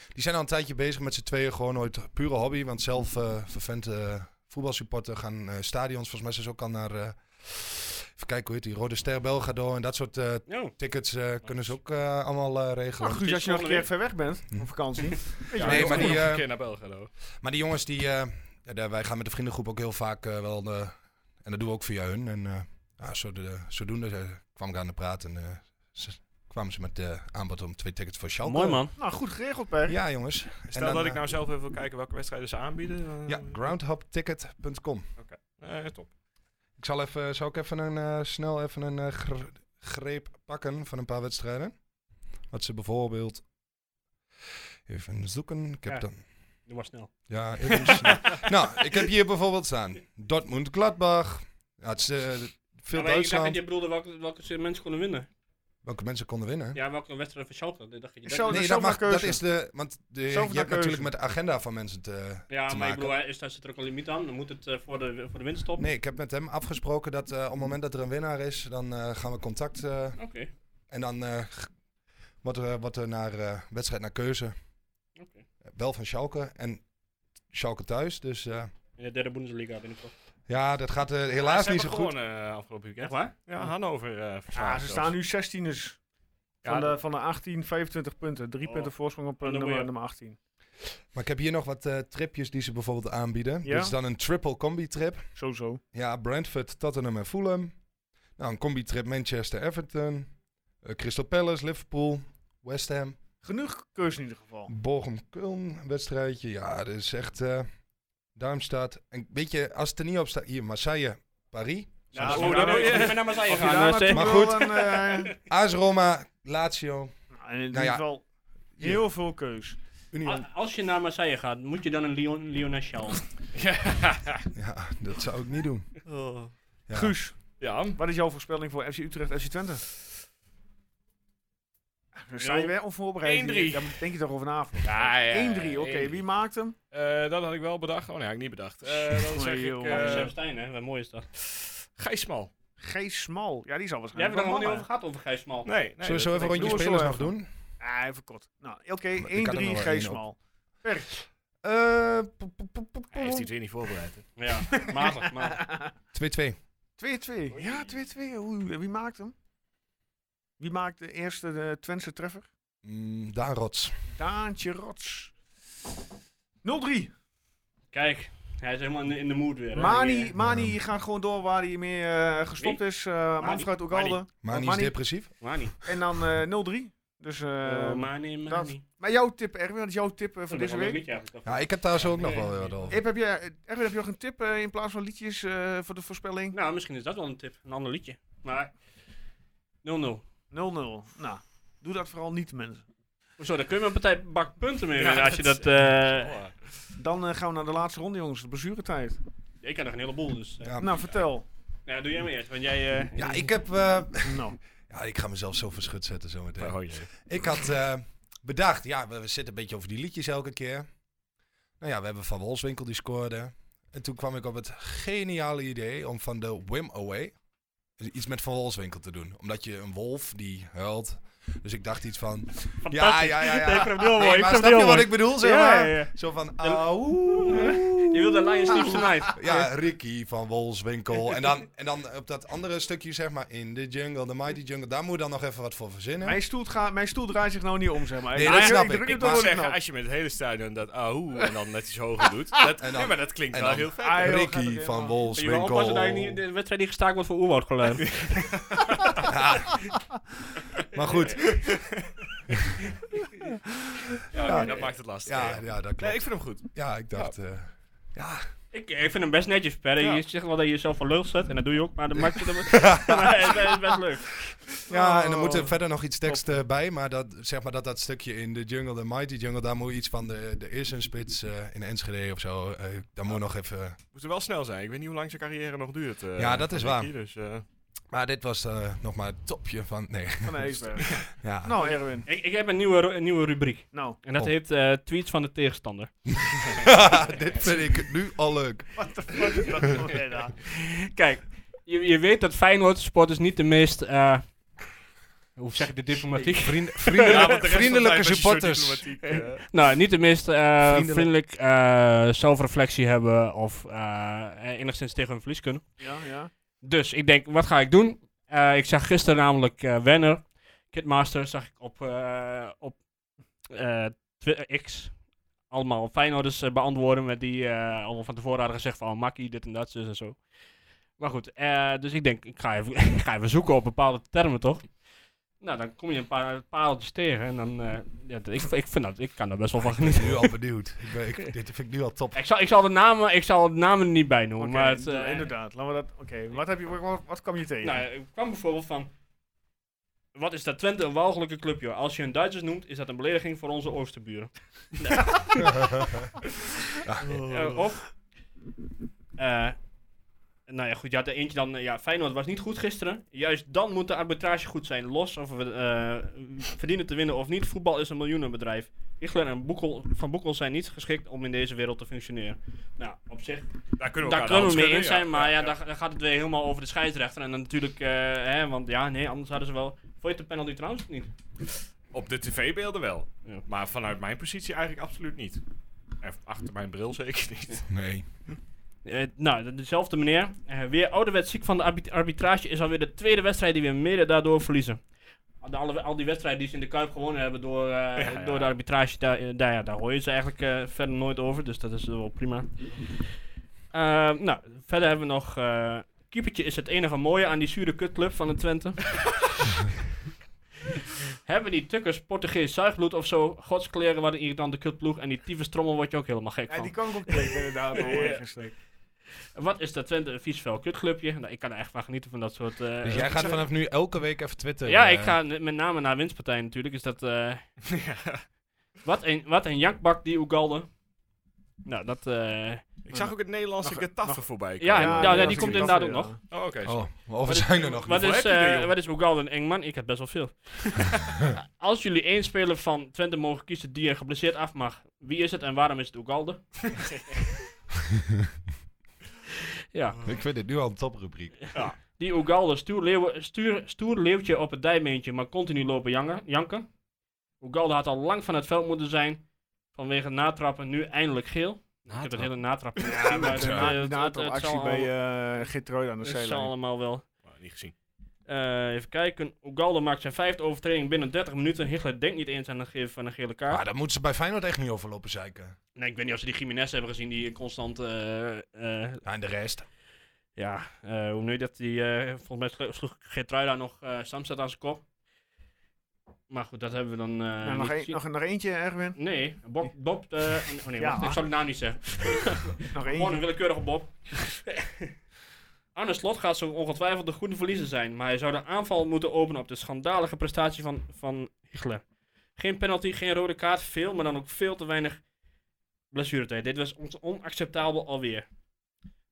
S6: die zijn al een tijdje bezig met z'n tweeën. Gewoon ooit pure hobby. Want zelf eh vervent eh, voetbalsupporter gaan eh, stadions. Volgens mij zijn ze ook al naar... eh, even kijken hoe heet die. Rode Ster Belgrado. En dat soort eh,
S5: Ja.
S6: tickets eh, kunnen ze ook eh, allemaal eh, regelen.
S1: Nou, Guus, als je nog een keer ver weg bent,
S6: Hm.
S1: op vakantie. weet je
S4: Ja,
S1: wel,
S6: nee,
S4: nog-
S6: maar die,
S4: nog een
S6: eh,
S4: keer naar Belgrado.
S6: Maar die jongens die. eh, ja, daar- wij gaan met de vriendengroep ook heel vaak eh, wel. eh, en dat doen we ook via hun. En eh, ja, zo de, zodoende eh, kwam ik aan de praat. En eh, ze, kwamen ze met eh, aanbod om twee tickets voor Schalke.
S5: Mooi man.
S1: Nou, goed geregeld, Per.
S6: Ja, jongens. En
S4: Stel
S6: dan,
S4: dat ik
S6: eh,
S4: nou zelf even wil kijken welke wedstrijden ze aanbieden. eh,
S6: Ja, groundhopticket.com.
S4: eh, top.
S6: Ik zal even, zal ik even een, eh, snel even een eh, gr- greep pakken van een paar wedstrijden. Wat ze bijvoorbeeld. Even zoeken. Ik heb
S5: Ja.
S6: dan.
S5: Doe maar snel.
S6: Ja, even snel. nou, ik heb hier bijvoorbeeld staan. Dortmund Gladbach. Ja, het is, eh, veel
S5: Ja, Nou, maar ik dacht
S6: Duitsland.
S5: dat je bedoelde welke, welke ze- mensen konden winnen.
S6: Welke mensen konden winnen.
S5: Ja, welke wedstrijd van Schalke. Ik dacht dat je
S1: Ik
S5: dat-
S1: zou-
S6: Nee, dat,
S1: zomaar
S6: mag, dat
S1: keuze.
S6: is de. Want de, je
S1: Zomaar
S6: hebt
S1: keuze.
S6: natuurlijk met de agenda van mensen te.
S5: Ja,
S6: te
S5: maar ik
S6: maken.
S5: bedoel, eh, is daar zit er ook een limiet aan? Dan moet het eh, voor, de, voor de winst stoppen.
S6: Nee, ik heb met hem afgesproken dat eh, op het moment dat er een winnaar is, dan eh, gaan we contact. eh,
S5: Oké.
S6: en dan eh, g- wordt er, wordt er naar eh, wedstrijd naar keuze.
S5: Oké.
S6: Wel van Schalke en Schalke thuis. Dus eh,
S5: In de derde Bundesliga binnenkort.
S6: ja, dat gaat eh, helaas
S4: Ze
S6: niet zo
S4: hebben
S6: goed.
S4: gewonnen, eh, afgelopen weekend.
S5: waar?
S4: Ja, Hannover eh
S1: Ja,
S4: verslagen
S1: ze
S4: zelfs.
S1: staan nu 16ers. Van,
S4: Ja,
S1: de, van de 18, 25 punten. Drie
S5: Oh.
S1: punten voorsprong op eh,
S5: En dan
S1: nummer,
S5: weer.
S1: nummer 18.
S6: Maar ik heb hier nog wat eh, tripjes die ze bijvoorbeeld aanbieden.
S1: Ja?
S6: Dit is dan een triple combi trip.
S1: Sowieso.
S6: Ja, Brentford, Tottenham en Fulham. Nou, een combi trip Manchester, Everton. Eh, Crystal Palace, Liverpool, West Ham.
S1: Genoeg keus in ieder geval.
S6: Bochum, Köln, wedstrijdje. Ja, dat is echt eh Darmstadt. En weet je, als het er niet op staat, hier Marseille, Paris.
S5: Ja,
S1: als
S5: oh,
S1: we
S5: nou,
S1: daar-
S5: nou, ik ben naar Marseille
S1: Of je
S5: gegaan.
S1: daar
S5: eh, zeg.
S1: naartoe
S6: Maar goed.
S1: wil, dan, eh,
S6: AS Roma, Lazio,
S1: nou, in ieder
S6: ja.
S1: geval heel veel keus.
S6: Union.
S3: Ah.
S5: A- Als je naar Marseille gaat, moet je dan een Lyon, Lyonnais sjaal.
S6: Ja, dat zou ik niet doen. Ja.
S1: Guus,
S4: Ja,
S1: wat is jouw voorspelling voor FC Utrecht, FC Twente? Dan sta je
S5: Ja.
S1: weer onvoorbereid.
S4: 1-3.
S1: Daar denk je toch over na.
S4: Ja, ja,
S1: 1-3, oké.
S4: 1-3.
S1: Wie maakt hem?
S4: Eh, dat had ik wel bedacht. Oh nee, had ik niet bedacht. Eh dan zeg
S1: Nee,
S4: ik
S1: joh.
S5: Van
S4: eh
S5: Sam Stein, hè? Wat mooi is dat.
S4: Gijs Smal.
S1: Gijs Smal. Ja, die zal
S5: Daar hebben we
S1: waarschijnlijk
S5: het nog niet
S1: wel
S5: over gehad, over Gijs Smal.
S4: Nee, nee.
S6: Zullen we zo
S4: dat-
S6: even
S4: dat-
S6: rondje
S1: doe het zo
S6: spelers nog
S1: even.
S6: doen?
S1: Ah, even kort. Nou, oké.
S6: Ik had er nog
S1: 1-3,
S6: wel
S1: Gijs
S6: één op.
S1: Smal. Per,
S6: Eh,
S4: Hij heeft die weer niet voorbereid. hè.
S5: Ja, matig, maar
S6: 2-2.
S1: 2-2. Ja, 2-2. Oeh, Wie maakt hem? Wie maakt de eerste eh, Twentse treffer?
S6: Mm, Daan Rots.
S1: Daantje Rots. 0-3.
S5: kijk, hij is helemaal in de, in de mood weer. hè.
S1: Mani, Mani gaat gewoon door waar hij mee eh, gestopt is. eh Manfred Ugalde.
S6: Maar niet
S1: Mani.
S6: depressief.
S5: Mani.
S1: En dan eh 0-3. Dus, eh,
S5: Eh, Mani, Mani.
S1: dat- maar jouw tip, Erwin, wat is jouw tip eh,
S5: Oh,
S1: voor
S5: dat
S1: deze week?
S5: liedje eigenlijk.
S6: Ja, ik heb daar zo ook nog wel wat over.
S1: Ip, heb je, Erwin, heb je nog een tip eh, in plaats van liedjes eh, voor de voorspelling? 0-0.
S5: Nou, misschien is dat wel een tip. Een ander liedje. Maar Oh, 0-0.
S1: Nou, doe dat vooral niet, mensen.
S5: Hoezo, daar kun je maar een partij bak punten mee
S4: Ja,
S5: winnen als je
S4: dat-
S5: dat... eh,
S4: Oh,
S1: Dan eh, gaan we naar de laatste ronde, jongens. De blessuretijd.
S5: ik heb nog een heleboel, dus... eh.
S6: Ja.
S1: Nou, vertel.
S5: Ja, doe jij maar eerst, want jij... eh
S6: Ja, ik heb... eh,
S1: Nou,
S6: ja, ik ga mezelf zo verschut zetten zometeen.
S4: oh jee.
S6: Ik had eh, bedacht, ja, we, we zitten een beetje over die liedjes elke keer. Nou ja, we hebben Van Wolfswinkel die scoorde. En toen kwam ik op het geniale idee om van de Wim Away dus iets met Van Wolfswinkel te doen. Omdat je een wolf die huilt. Dus ik dacht iets van... Ja, ja, ja. ja.
S5: Nee, ik vind hem heel mooi, ik
S6: maar
S5: vind hem
S6: snap
S5: heel
S6: je wat
S5: mooi.
S6: ik bedoel? Zeg
S5: Ja,
S6: maar?
S5: ja, ja.
S6: Zo van... oh, Auw.
S5: Je wil de Lions Sleeps Tonight.
S6: Ja, Ricky van Wolfswinkel. En dan, en dan op dat andere stukje, zeg maar, in de jungle, de mighty jungle. Daar moet je dan nog even wat voor verzinnen.
S1: mijn, stoel gaat, mijn stoel draait zich nou niet om, zeg maar.
S6: Nee, dat snap ik.
S1: druk
S4: Ik
S1: het
S4: moet
S1: door de
S4: zeggen,
S1: knop.
S4: als je met het hele stadion dat ahoe en dan net iets hoger doet. Dat,
S6: En dan-
S4: nee, maar dat klinkt
S6: en
S4: wel
S6: dan-
S4: heel
S1: Ah,
S4: vet.
S1: joh, gaat het
S6: Ricky
S1: helemaal.
S5: Je
S6: van
S5: wil
S6: Wolfswinkel.
S5: oppassen dat je niet de wedstrijd niet gestaakt wordt voor oerwoudgeluid.
S6: Maar goed,
S4: Ja, oké, dat maakt het lastig.
S6: ja, ja, dat
S4: Nee,
S6: klopt.
S4: ik Oh. vind hem goed.
S6: Ja, ik dacht... eh, ja,
S5: ik, ik vind hem best netjes, Per.
S4: Ja.
S5: Je zegt wel dat je jezelf voor lul zet, en dat doe je ook, maar dat maakt het... maar het is best leuk.
S6: ja, en dan
S4: Oh.
S6: moet er verder nog iets tekst eh, bij. Maar dat, zeg maar dat dat stukje in de jungle, de mighty jungle, daar moet je iets van de, de eerste spits eh, in Enschede of zo. eh, daar moet nog even...
S4: Moet er wel snel zijn. Ik weet niet hoe lang zijn carrière nog duurt. eh,
S6: Ja, dat is
S4: van Ricky,
S6: waar.
S4: Dus, eh,
S6: Maar dit was eh, nog maar het topje van... Nee,
S1: Van Eesberg.
S6: ja.
S1: Nou, Erwin.
S5: Ik, ik heb een nieuwe, ru- een nieuwe rubriek.
S1: Nou,
S5: En dat
S6: Oh.
S5: heet eh, Tweets van de tegenstander.
S6: dit vind ik nu al leuk.
S1: what the fuck is dat nou weer daar?
S5: Kijk, je, je weet dat Feyenoord supporters niet de meest... eh, hoe zeg ik dit diplomatiek?
S6: Vriend,
S4: ja,
S6: vriendelijk-
S4: want de rest
S6: vriendelijke
S4: van de tijd was je zo
S6: supporters.
S4: diplomatiek, eh.
S5: Nou, niet de meest eh,
S6: Vriendelijk.
S5: vriendelijk eh, zelfreflectie hebben of eh, eh, enigszins tegen hun verlies kunnen.
S1: Ja, ja.
S5: Dus ik denk, wat ga ik doen? Eh, ik zag gisteren namelijk eh Wenner, Kidmaster, zag ik op, eh, op eh, Twi- eh, X allemaal Feyenoorders eh, beantwoorden met die eh, allemaal van tevoren hadden gezegd van oh, makkie, dit en dat, zus en zo. Maar goed, eh, dus ik denk, ik ga, even, ik ga even zoeken op bepaalde termen, toch? Nou, dan kom je een paar paaltjes tegen en dan, eh, ja, ik, ik vind dat, ik kan er best wel van genieten.
S6: Nu al benieuwd. Ik ben, ik, dit vind ik nu al top.
S5: Ik zal, ik zal de namen, ik zal de namen er niet bij noemen,
S1: Oké,
S5: maar het,
S1: ja,
S5: eh,
S1: inderdaad. Laten we dat. Oké, wat, heb je- wat, wat kwam je tegen?
S5: Nou, ik kwam bijvoorbeeld van. Wat is dat Twente een walgelijke club, joh? Als je een Duitsers noemt, is dat een belediging voor onze Oosterburen. Nee. Eh, of. eh, nou ja, goed. Je had er eentje dan. eh, Ja, Feyenoord was niet goed gisteren. Juist dan moet de arbitrage goed zijn. Los of we eh, verdienen te winnen of niet. Voetbal is een miljoenenbedrijf. Hichler en Boekel, Van Boekel zijn niet geschikt om in deze wereld te functioneren. Nou, op zich
S4: Daar kunnen we elkaar
S5: daar kunnen we
S4: de hand
S5: mee
S4: schudden,
S5: in zijn, maar ja,
S4: ja.
S5: Dan, dan gaat het weer helemaal over de scheidsrechter. En dan natuurlijk, eh, hè, want ja, nee, anders hadden ze wel... Vond je de penalty trouwens niet?
S4: Op de tv-beelden wel.
S5: Ja.
S4: Maar vanuit mijn positie eigenlijk absoluut niet. En achter mijn bril zeker niet.
S6: Nee.
S5: Eh, nou, de- dezelfde meneer. Eh, weer ouderwets ziek van de arbit- arbitrage is alweer de tweede wedstrijd die we mede daardoor verliezen. Al, de- alle- al die wedstrijden die ze in de Kuip gewonnen hebben door, eh,
S4: ja.
S5: door de arbitrage, daar, eh, daar, ja, daar hoor je ze eigenlijk eh, verder nooit over. Dus dat is wel prima. Eh, nou, verder hebben we nog... eh keepertje is het enige mooie aan die zure kutclub van de Twente. hebben die tukkers Portugees zuigbloed of zo? Godskleren, wat een irritante kutploeg. En die tyfus trommel word je ook helemaal gek
S1: ja,
S5: van.
S1: die kan ik ook tegen, inderdaad. hoor, ergens tegen.
S5: Wat is dat Twente een vies vuil kutclubje? Nou, ik kan er echt van genieten van dat soort... eh,
S6: Dus jij gaat vanaf nu elke week even twitteren.
S5: ja, ik
S6: eh,
S5: ga n- met name naar winstpartij natuurlijk. Is dat... eh, wat, een, wat een jankbak die Oegalde. Nou, dat... eh,
S4: Ik zag ook het Nederlandse getaffe voorbij
S5: ja,
S4: komen.
S5: ja,
S1: ja,
S5: die
S1: dat
S5: komt
S1: is
S5: inderdaad ook
S1: wel,
S5: nog.
S1: ja.
S4: Oh, oké.
S6: Oh, of we
S5: is-
S6: zijn er nog
S5: Wat
S6: niet.
S4: Hoeveel
S5: is,
S4: heb je er,
S5: eh,
S4: joh?
S5: wat is Oegalde een eng man? Ik heb best wel veel. Als jullie één speler van Twente mogen kiezen die er geblesseerd af mag, wie is het en waarom is het Oegalde? ja.
S6: Ik vind dit nu al een toprubriek.
S5: Die Ugalde, stoer, leeuw, stuur, stoer leeuwtje op het dijmeentje, maar continu lopen jangen- janken. Ugalde had al lang van het veld moeten zijn.
S3: vanwege het natrappen nu eindelijk geel. Ik heb het hele natrappen gezien, maar het-
S1: Na,
S3: het- het-
S1: na
S3: het
S1: de
S3: zal
S1: actie
S3: allemaal-
S1: bij eh Geertruida aan de
S3: Het zal
S1: zijlijn.
S3: allemaal wel.
S4: Maar Nou, niet gezien.
S3: Eh, even kijken. Ugalde maakt zijn vijfde overtreding binnen 30 minuten. Hitler denkt niet eens aan het geven van een gele kaart.
S6: Maar daar moeten ze bij Feyenoord echt niet over lopen zeiken.
S3: Nee, ik weet niet of ze die Jiménez hebben gezien die constant... eh, eh,
S6: Ja, Nou, en de rest.
S3: ja, eh, hoe nu dat die... eh, volgens mij slo- sloeg Gertruida nog eh Samstad aan zijn kop. Maar goed, dat hebben we dan eh,
S1: En
S3: niet
S1: Nou, nog, een,
S3: gezien.
S1: nog, nog eentje, Erwin.
S3: Nee, Bob... Bob eh, oh nee,
S1: Ja.
S3: wacht, ik zal het naam niet zeggen.
S1: Nog
S3: Gewoon een
S1: eentje.
S3: willekeurige Bob. Arne Slot gaat zo ongetwijfeld de goede verliezer zijn, maar hij zou de aanval moeten openen op de schandalige prestatie van, van Hichler. Geen penalty, geen rode kaart, veel, maar dan ook veel te weinig blessuretijd. Dit was ons onacceptabel alweer.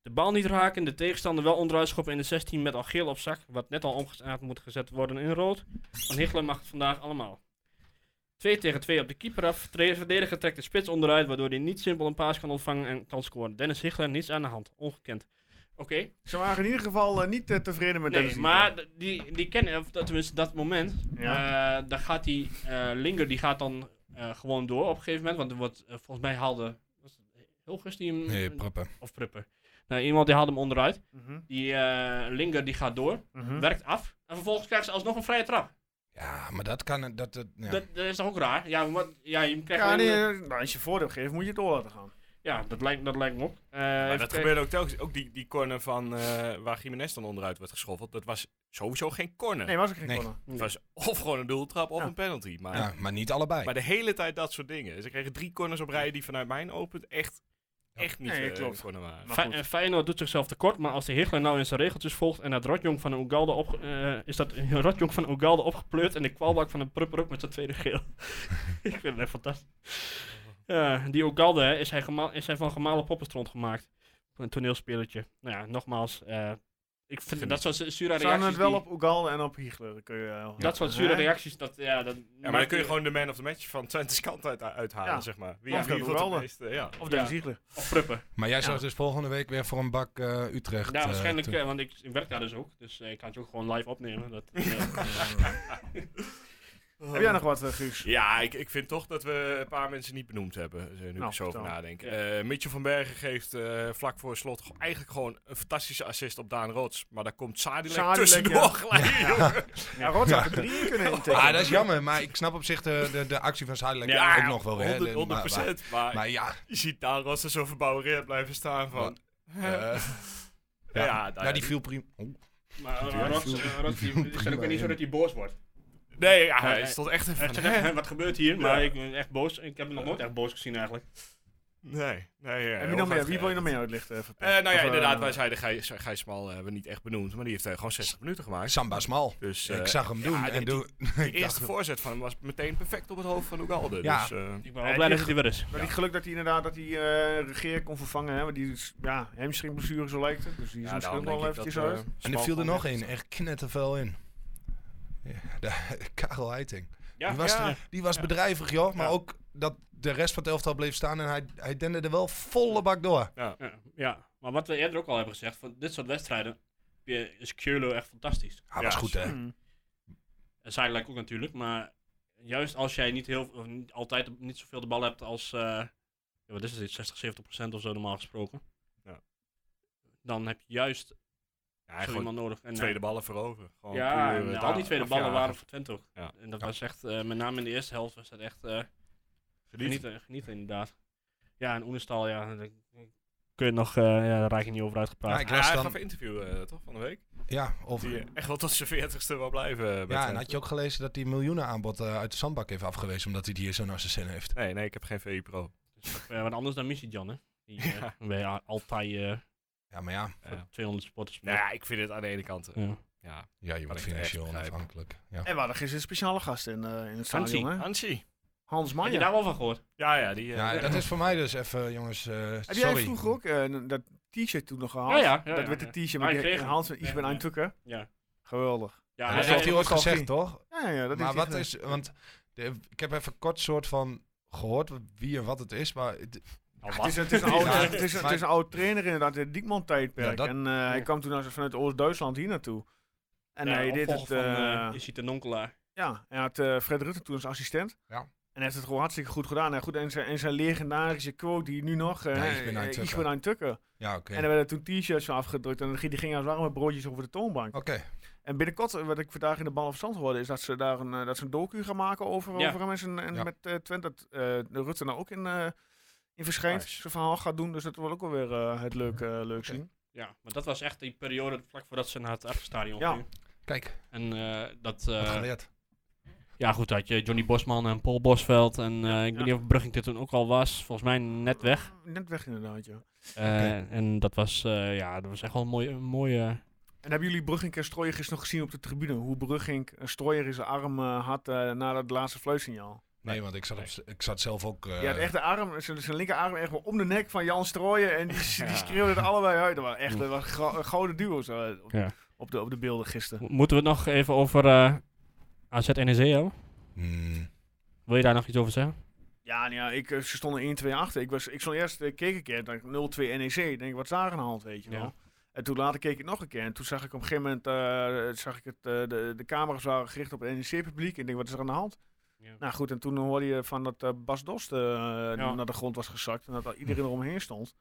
S3: De bal niet raken, de tegenstander wel onderuit schoppen in de 16 met al geel op zak, wat net al omgezet moet gezet worden in rood. Van Hichler mag het vandaag allemaal. 2 tegen 2 op de keeper af. Tre- Verdediger trekt de spits onderuit, waardoor hij niet simpel een paas kan ontvangen en kan scoren. Dennis Hichler, niets aan de hand. Ongekend. Oké,
S1: Ze waren in ieder geval eh, niet eh, tevreden met
S3: nee,
S1: deze
S3: maar d- die, die kennen, of dat- tenminste dat moment, eh, dan gaat die eh, Linger, die gaat dan eh, gewoon door op een gegeven moment, want er wordt, eh, volgens mij haalde, was het Hilgers die hem,
S6: Nee, proppen.
S3: of Prupper, nou, iemand die haalde hem onderuit.
S1: Mhm,
S3: Die eh, Linger die gaat door,
S1: mhm.
S3: werkt af, en vervolgens krijgt ze alsnog een vrije trap.
S6: Ja, maar dat kan... Dat, dat, ja.
S3: Dat, dat is toch ook raar? Ja, wat, ja, je krijgt
S1: Ja,
S3: alleen-
S1: nee, eh, nou, als je voordeel geeft, moet je het door laten gaan.
S3: ja dat, lijkt, dat lijkt me ook. Eh,
S4: Maar
S3: even
S4: dat
S3: kijken.
S4: gebeurde ook telkens. Ook die, die corner van, eh, waar Jiménez dan onderuit werd geschoffeld. Dat was sowieso geen corner.
S1: Nee, was ook geen
S6: Nee.
S1: corner.
S4: Het was of gewoon een doeltrap of
S1: Ja.
S4: een penalty. Maar,
S6: Ja, maar niet allebei.
S4: maar de hele tijd dat soort dingen. Ze kregen drie corners op rij die vanuit mijn open echt, echt niet
S1: Nee,
S4: eh,
S1: klopt.
S4: een corner waren.
S1: Maar
S3: Fe-
S1: goed.
S3: eh, Feyenoord doet zichzelf tekort, maar als de Hichler nou in zijn regeltjes volgt en dat rotjong van Ugalde op, eh, is dat rotjong van Ugalde opgepleurd en de kwalbak van een prupper ook met zijn tweede geel. Ik vind het echt fantastisch. Ja, die Ugalde hè, is, hij gema- is hij van gemalen poppenstront gemaakt. Een toneelspelletje. Nou ja, nogmaals, eh, ik vind dat soort zure
S1: Ze hadden
S3: reacties.
S1: het wel
S3: die-
S1: op Ugalde en op Hiegler. Dat kun je wel-
S3: Dat soort zure
S1: Hè?
S3: reacties, dat, ja, dat
S4: Ja, maar dan kun je gewoon de man of the match van Twente's kant uit, eh, uithalen,
S1: Ja.
S4: zeg maar. Wie
S1: Of
S4: heeft
S1: dat
S4: hier voor
S1: Ronaldo.
S4: de meeste... Ja.
S1: Of
S3: Ja.
S1: Dennis Hiegler.
S3: Of pruppen.
S6: Maar jij zag dus volgende week weer voor een bak eh, Utrecht.
S3: Ja,
S6: eh,
S3: waarschijnlijk,
S6: toe.
S3: eh, want ik, ik werk daar dus ook. Dus eh, ik kan het ook gewoon live opnemen. Dat, eh,
S1: Heb jij nog wat, eh, Guus?
S4: Ja, ik, ik vind toch dat we een paar mensen niet benoemd hebben. eh, Nu ik
S1: Nou,
S4: er zo over
S1: vertel.
S4: nadenk.
S3: Ja.
S4: Eh, Mitchell van Bergen geeft eh, vlak voor slot go- eigenlijk gewoon een fantastische assist op Daan Rots. Maar daar komt Sadilek,
S1: Sadilek,
S4: tussendoor
S1: ja.
S4: gelijk. in, jongen.
S1: Ja, Rot had er drie in kunnen intikken.
S6: Ah, dat is jammer, maar ik snap op zich de, de, de actie van Zuidelijk
S4: Ja,
S6: ook nog wel. hè.
S4: 100,
S6: De- maar-
S4: 100
S6: maar,
S4: Maar,
S6: maar ja,
S4: je ziet Daan Rots er zo verbouwereerd blijven staan van...
S6: eh,
S4: ja,
S6: ja.
S4: nou
S6: ja,
S4: ja,
S6: die viel prima. Oeh.
S3: Maar eh, Rots, eh, Rots, die- het is dan ook weer niet zo dat hij boos wordt.
S4: Nee, ja,
S3: Ja,
S4: hij
S3: ja.
S4: stond echt even
S3: Hij
S4: van,
S3: zegt echt,
S4: hè?
S3: "Hè, wat gebeurt hier? Maar
S4: Ja.
S3: ik ben echt boos. Ik heb hem nog nooit echt boos gezien eigenlijk.
S4: Nee, nee. ja,
S1: Heb je
S4: heel
S1: nog meer?
S4: vet
S1: Wie wil je
S4: ge-
S1: nog meer uitlichten? even?
S4: Eh, nou ja,
S1: Of, eh,
S4: inderdaad, wij zeiden Gijs, Gijs Smal hebben we niet echt benoemd. Maar die heeft eh, gewoon 60 minuten gemaakt.
S6: Samba Smal.
S4: Dus eh,
S6: ik zag hem doen.
S4: ja, die-
S6: en doe,
S4: de eerste voorzet van hem was meteen perfect op het hoofd van Ugalde.
S6: Ja.
S4: Dus, eh,
S3: Ik ben
S1: wel blij
S3: wel blij
S1: dat
S3: dat
S1: hij
S3: hij weer is.
S1: Maar die geluk dat hij inderdaad dat hij eh regeer kon vervangen. Hè? Want die is, ja, hamstringblessure zo lijkt het. Dus die is
S4: ja,
S1: misschien
S4: daarom
S1: ook wel
S4: denk ik
S1: eventjes
S4: dat, eh,
S1: uit.
S6: en er
S4: Smal
S6: viel er
S4: gewoon
S6: nog
S4: echt-
S6: in. Echt knettervel in. Ja, de- Karel Heiting.
S3: Ja,
S6: die was,
S3: ja.
S6: er- die was bedrijvig, joh. Maar ook dat de rest van het elftal bleef staan en hij, hij dende er wel volle bak door.
S3: Ja, ja. maar wat we eerder ook al hebben gezegd, van dit soort wedstrijden eh, is Keulo echt fantastisch.
S6: Hij was goed,
S4: eh,
S6: hè?
S1: Hm.
S3: En Zijdelijk ook natuurlijk, maar juist als jij niet heel, of niet altijd de- niet zoveel de bal hebt als, eh, ja, wat is het, 60, 70 procent of zo normaal gesproken.
S4: Ja.
S3: Dan heb je juist
S4: Ja, hij
S3: zo
S4: gooit
S3: iemand nodig. En, eh,
S4: tweede ballen voorover. Gewoon
S3: Ja, en
S4: puur, eh,
S3: al die
S4: daar-
S3: tweede
S4: afjagen.
S3: ballen waren voor Twente ook.
S4: Ja.
S3: En dat
S6: Ja.
S3: was echt, eh, met name in de eerste helft was dat echt eh, genieten, genieten inderdaad. Ja, en Oenestal, ja, daar kun je nog, eh, ja, daar raak je niet over
S6: Ja,
S3: uitgepraat.
S6: ik
S4: Ja, hij
S6: las
S4: gaf
S6: dan.
S4: een interview eh, toch van de week.
S6: Ja, of,
S4: Die eh, echt wel tot zijn veertigste wil blijven. eh, bij
S6: ja, en
S4: Twente.
S6: had je ook gelezen dat hij miljoenen aanbod eh, uit de zandbak heeft afgewezen omdat hij het hier zo naar zijn zin heeft.
S4: Nee, nee, ik heb geen VI Pro.
S5: Eh,
S3: Ja, wat anders dan Missie Jan, hè. Die eh,
S4: Ja.
S3: bij Al- Altai eh,
S6: Ja, maar ja,
S3: voor
S4: Ja.
S3: 200 sporters.
S4: Nou ja, ik vind het aan de ene kant. eh,
S3: Ja.
S4: Ja,
S6: ja je wordt
S4: ik echt
S6: financieel
S4: begrijp.
S6: onafhankelijk. Ja.
S1: En we hadden gisteren een speciale gast in, eh, in het stadion. Hè?
S4: Hansi.
S1: Hans
S3: Heb je daar
S1: Maier.
S3: wel van gehoord?
S4: Ja, ja, die. eh,
S6: Ja, dat is voor mij dus even, jongens. eh,
S1: Heb jij
S6: sorry.
S1: vroeger ook eh, dat t-shirt toen nog gehaald?
S3: Ja, ja, ja,
S1: dat
S3: ja,
S1: werd
S3: ja.
S1: het t-shirt
S3: Ah,
S1: met
S3: ik
S1: die-
S3: kreeg hem.
S1: Hans en Ik ben
S3: Ja,
S1: aan
S3: ja.
S1: Tukken.
S3: Ja.
S1: Geweldig.
S3: Ja,
S6: Maar
S3: hij
S6: dat
S3: zei-
S6: heeft hij ooit
S1: nostalgie.
S6: gezegd, toch?
S1: Ja, ja, dat
S6: maar
S1: is
S6: wat is, want de- ik heb even kort soort van gehoord wie en wat het is, maar het-
S3: Al
S1: Het is,
S3: wat?
S1: het, is een oude,
S6: Ja.
S1: het, is, het is een oude trainer inderdaad, in het Diekman-tijdperk.
S6: Ja, dat-
S1: En eh, hij kwam toen als- vanuit Oost-Duitsland hier naartoe. En
S3: Ja,
S1: hij deed
S3: opvolger
S1: het...
S3: van,
S1: eh,
S3: eh, Is hij ten onkelaar?
S1: Ja, hij had eh, Fred Rutte toen als assistent.
S6: Ja.
S1: hij heeft het gewoon hartstikke goed gedaan. En, goed, en, zijn, en zijn legendarische quote die nu nog... eh,
S6: Ja, ik ben
S1: eh,
S6: aan het
S1: ik
S6: tukken.
S1: ben aan het tukken.
S6: Ja, oké.
S1: En er werden toen t-shirts van afgedrukt. En dan ging- die gingen als warme broodjes over de toonbank.
S6: Oké,
S1: En binnenkort, eh, wat ik vandaag in de Bal of Stand hoorde, is dat ze daar een, eh, dat ze een docu gaan maken over,
S5: Ja.
S1: over hem. En, zijn- en
S6: Ja.
S1: met eh, Twente, dat eh, de Rutte nou ook in, eh, in verschijnt.
S4: Nice.
S1: Zijn verhaal gaat doen, dus dat wordt ook wel weer eh, het leuk, eh, leuk zien.
S5: Ja, maar dat was echt die periode vlak voordat ze naar het Achterstadion
S1: Ja.
S5: ging.
S6: kijk,
S5: En eh, dat... eh,
S6: wat geleerd.
S5: ja goed, had je Johnny Bosman en Paul Bosveld. En eh, ik
S1: Ja.
S5: weet niet of Brugging dit toen ook al was. Volgens mij net weg.
S1: Net weg inderdaad, ja.
S5: Eh, En dat was, eh, ja, dat was echt wel een mooie... Een mooie
S1: En hebben jullie Brugink en Strooier gisteren nog gezien op de tribune? Hoe Brugink een Strooier in zijn arm eh, had eh, na dat laatste fluitsignaal?
S6: Nee, want ik zat, op, s- ik zat zelf ook... eh,
S1: ja, het echte arm, zijn, zijn linker arm echt wel om de nek van Jan Strooier. En die, die schreeuwde het allebei uit. Dat waren echt dat waren gro- gouden duo's eh, op,
S5: Ja.
S1: op, de, op de beelden gisteren.
S5: Mo- Moeten we het nog even over eh AZ NEC hebben?
S6: mm,
S5: E Wil je daar nog iets over zeggen?
S1: Ja, nou ja ik, eh, ze stonden 1-2 achter. Ik, was, ik stond eerst, eh, keek een keer, en dacht ik, 0-2 NEC. E Ik denk, wat is daar aan de hand, weet je
S5: Ja.
S1: wel. En toen later keek ik nog een keer. En toen zag ik op een gegeven moment, eh, zag ik het, eh, de, de camera's waren gericht op het NEC-publiek. En ik denk, wat is er aan de hand?
S5: Ja.
S1: Nou goed, en toen hoorde je van dat eh, Bas Dost eh,
S5: Ja.
S1: naar de grond was gezakt. En dat al iedereen eromheen stond.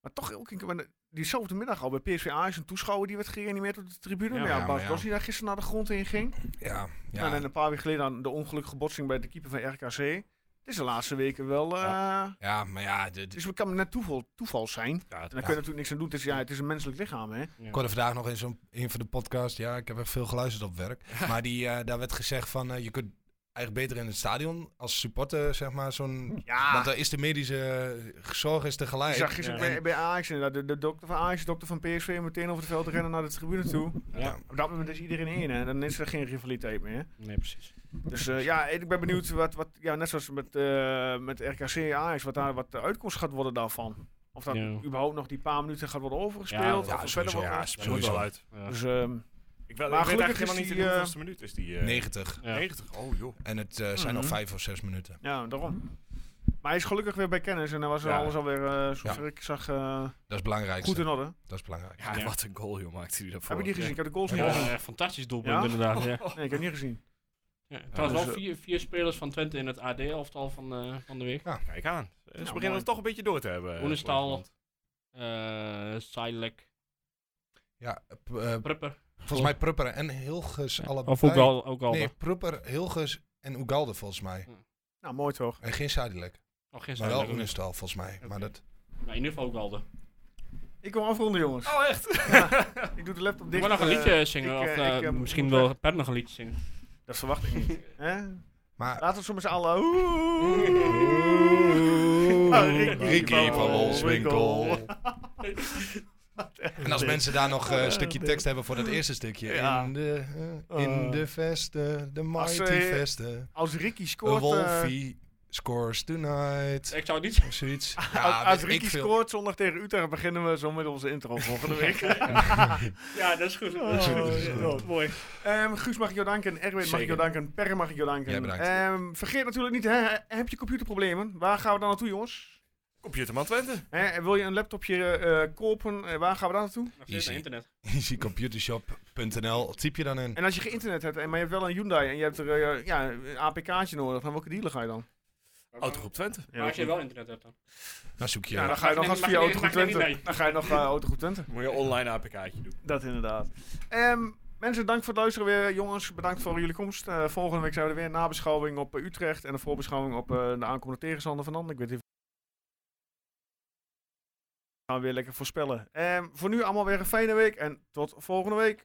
S1: Maar toch ook, een keer- want diezelfde middag al bij PSV Ajax, een toeschouwer die werd gereanimeerd op de tribune.
S5: Ja.
S1: Ja,
S6: Ja, maar
S1: Bas
S6: ja.
S1: Dost die daar gisteren naar de grond heen ging.
S6: ja, ja.
S1: Nou, en een paar weken geleden aan de ongelukkige botsing bij de keeper van RKC. Het is de laatste weken wel... eh,
S6: ja, maar ja, dit-
S1: dus het kan net toeval, toeval zijn. En
S4: Ja, het-
S1: daar kun je natuurlijk niks aan doen. Het is, ja, het is een menselijk lichaam, hè?
S6: Ik hoorde vandaag nog in zo'n een van de podcast. Ja, ik heb echt veel geluisterd op werk. Maar die, eh, daar werd gezegd van eh, je kunt eigenlijk beter in het stadion als supporter, zeg maar, zo'n.
S1: Ja,
S6: Want eh, daar is de medische zorg is
S1: ik
S6: tegelijk.
S1: Ah. zag gisteren bij, bij Ajax inderdaad. De, de dokter van Ajax, de dokter van PSV, meteen over het veld rennen naar de tribune toe.
S5: Ja.
S1: Op dat moment is iedereen één, hè? Dan is er geen rivaliteit meer.
S5: Nee, precies.
S1: Dus eh, ja, ik ben benieuwd wat, wat ja, net zoals met, eh, met RKC Ajax, wat, daar, wat de uitkomst gaat worden daarvan. Of dat
S5: Ja.
S1: überhaupt nog die paar minuten gaat worden overgespeeld.
S5: Ja,
S1: of er
S6: sowieso,
S1: wordt-
S6: ja,
S4: dat moet wel
S6: Sowieso.
S4: uit.
S1: Dus, ehm,
S4: Ik, wel,
S1: Maar
S4: ik weet
S1: gelukkig
S4: eigenlijk helemaal
S1: is
S4: niet in
S1: die,
S4: de
S1: eh,
S4: hoeveelste minuut is die. eh,
S6: 90.
S5: Ja.
S4: 90. Oh joh.
S6: En het eh, zijn nog
S1: Mhm.
S6: vijf of zes minuten.
S1: ja, daarom. Maar hij is gelukkig weer bij kennis en dan was
S4: Ja.
S1: alles alweer, eh zover ik zag, eh,
S6: Dat is belangrijk.
S1: goed in orde.
S6: Dat is belangrijk.
S4: Ja,
S5: Ja.
S4: wat een goal joh maakte hij daarvoor.
S1: Heb je die gezien? Ik heb de goals
S5: Ja,
S1: niet gezien.
S5: echt fantastisch doelpunt
S1: Ja?
S5: inderdaad. Ja.
S1: Nee, ik heb niet gezien.
S5: Ja, trouwens
S1: dus,
S5: wel
S1: eh,
S5: vier, vier spelers van Twente in het AD-elftal van, eh, van de week.
S4: Kijk aan. Eh, Ze
S1: Nou,
S4: beginnen
S1: mooi.
S4: het toch een beetje door te hebben. eh,
S5: Oenestal.
S4: Nederland.
S5: Eh Silek,
S6: Ja, p- eh,
S5: Prupper.
S6: volgens mij Prupper en Hilgers allebei.
S5: Of ook al, ook al
S6: Nee, Prupper, Hilgers en Ugalde volgens mij.
S1: Nou, mooi toch?
S6: En geen Sadilek.
S5: Oh, geen
S6: Maar
S5: Silek.
S6: wel
S5: ook niet.
S6: Unestal volgens mij. Maar
S5: Oké.
S6: dat...
S5: Maar in ieder geval ook al.
S1: Ik kom afronden, jongens.
S4: Oh echt?
S1: Ik doe de laptop dicht.
S5: Wil nog een
S1: eh,
S5: liedje zingen?
S1: ik,
S5: of
S1: eh,
S5: eh,
S1: ik, eh,
S5: misschien
S1: moet
S5: wil
S1: weg.
S5: Per nog een liedje zingen.
S1: Dat verwacht ik niet. Hè?
S6: Maar
S1: Laten we zo met z'n allen... Oeh. Ah, Ricky
S6: Ricky van
S1: Wolfswinkel.
S6: Wolfswinkel. En als mensen daar nog eh, een stukje tekst hebben voor dat eerste stukje.
S1: Ja.
S6: In, de, eh, in de vesten, de mighty
S1: Als, eh,
S6: vesten.
S1: Als Ricky
S6: Een
S1: scoort... eh,
S6: Wolfie scores tonight.
S5: Ik zou het niet zeggen.
S6: Of zoiets.
S1: als als
S6: Ah, weet ik
S1: Ricky
S6: veel.
S1: scoort zondag tegen Utrecht, beginnen we zo met onze intro volgende week. Oh,
S5: Ja, dat is goed. mooi.
S1: Ehm, Guus, mag ik jou danken? Erwin, mag ik
S4: Zeker.
S1: jou danken? Per, mag ik jou danken?
S6: Ja, bedankt.
S1: Ehm, vergeet natuurlijk niet, hè, heb je computerproblemen? Waar gaan we dan naartoe, jongens?
S4: Computerman Twente.
S1: Hè, en wil je een laptopje eh, kopen? Eh, waar gaan we dan naartoe?
S5: Nog steeds
S6: Easy.
S5: naar internet.
S6: Easycomputershop.nl. Typ je dan in.
S1: En als je geen internet hebt, en, maar je hebt wel een Hyundai en je hebt er eh, ja, een APK'tje nodig, van welke dealer ga je dan?
S4: Autogroep Twente.
S5: Maar als je wel internet hebt dan.
S6: Dan zoek je.
S1: Ja, dan ga je nog
S5: Mag
S1: als
S5: ik-
S1: via
S5: mag ik-
S1: Autogroep
S5: mag ik niet
S1: Twente.
S5: mee?
S1: Dan ga je nog eh, Autogroep Twente.
S4: Moet je online APK'tje doen.
S1: Dat inderdaad. Ehm, mensen, dank voor het luisteren weer. Jongens, bedankt voor jullie komst. Eh, volgende week zijn we er weer. Nabeschouwing op eh, Utrecht en een voorbeschouwing op eh, de aankomende tegenstander van Ander. Ik weet even. Gaan we weer lekker voorspellen. Ehm, voor nu allemaal weer een fijne week en tot volgende week.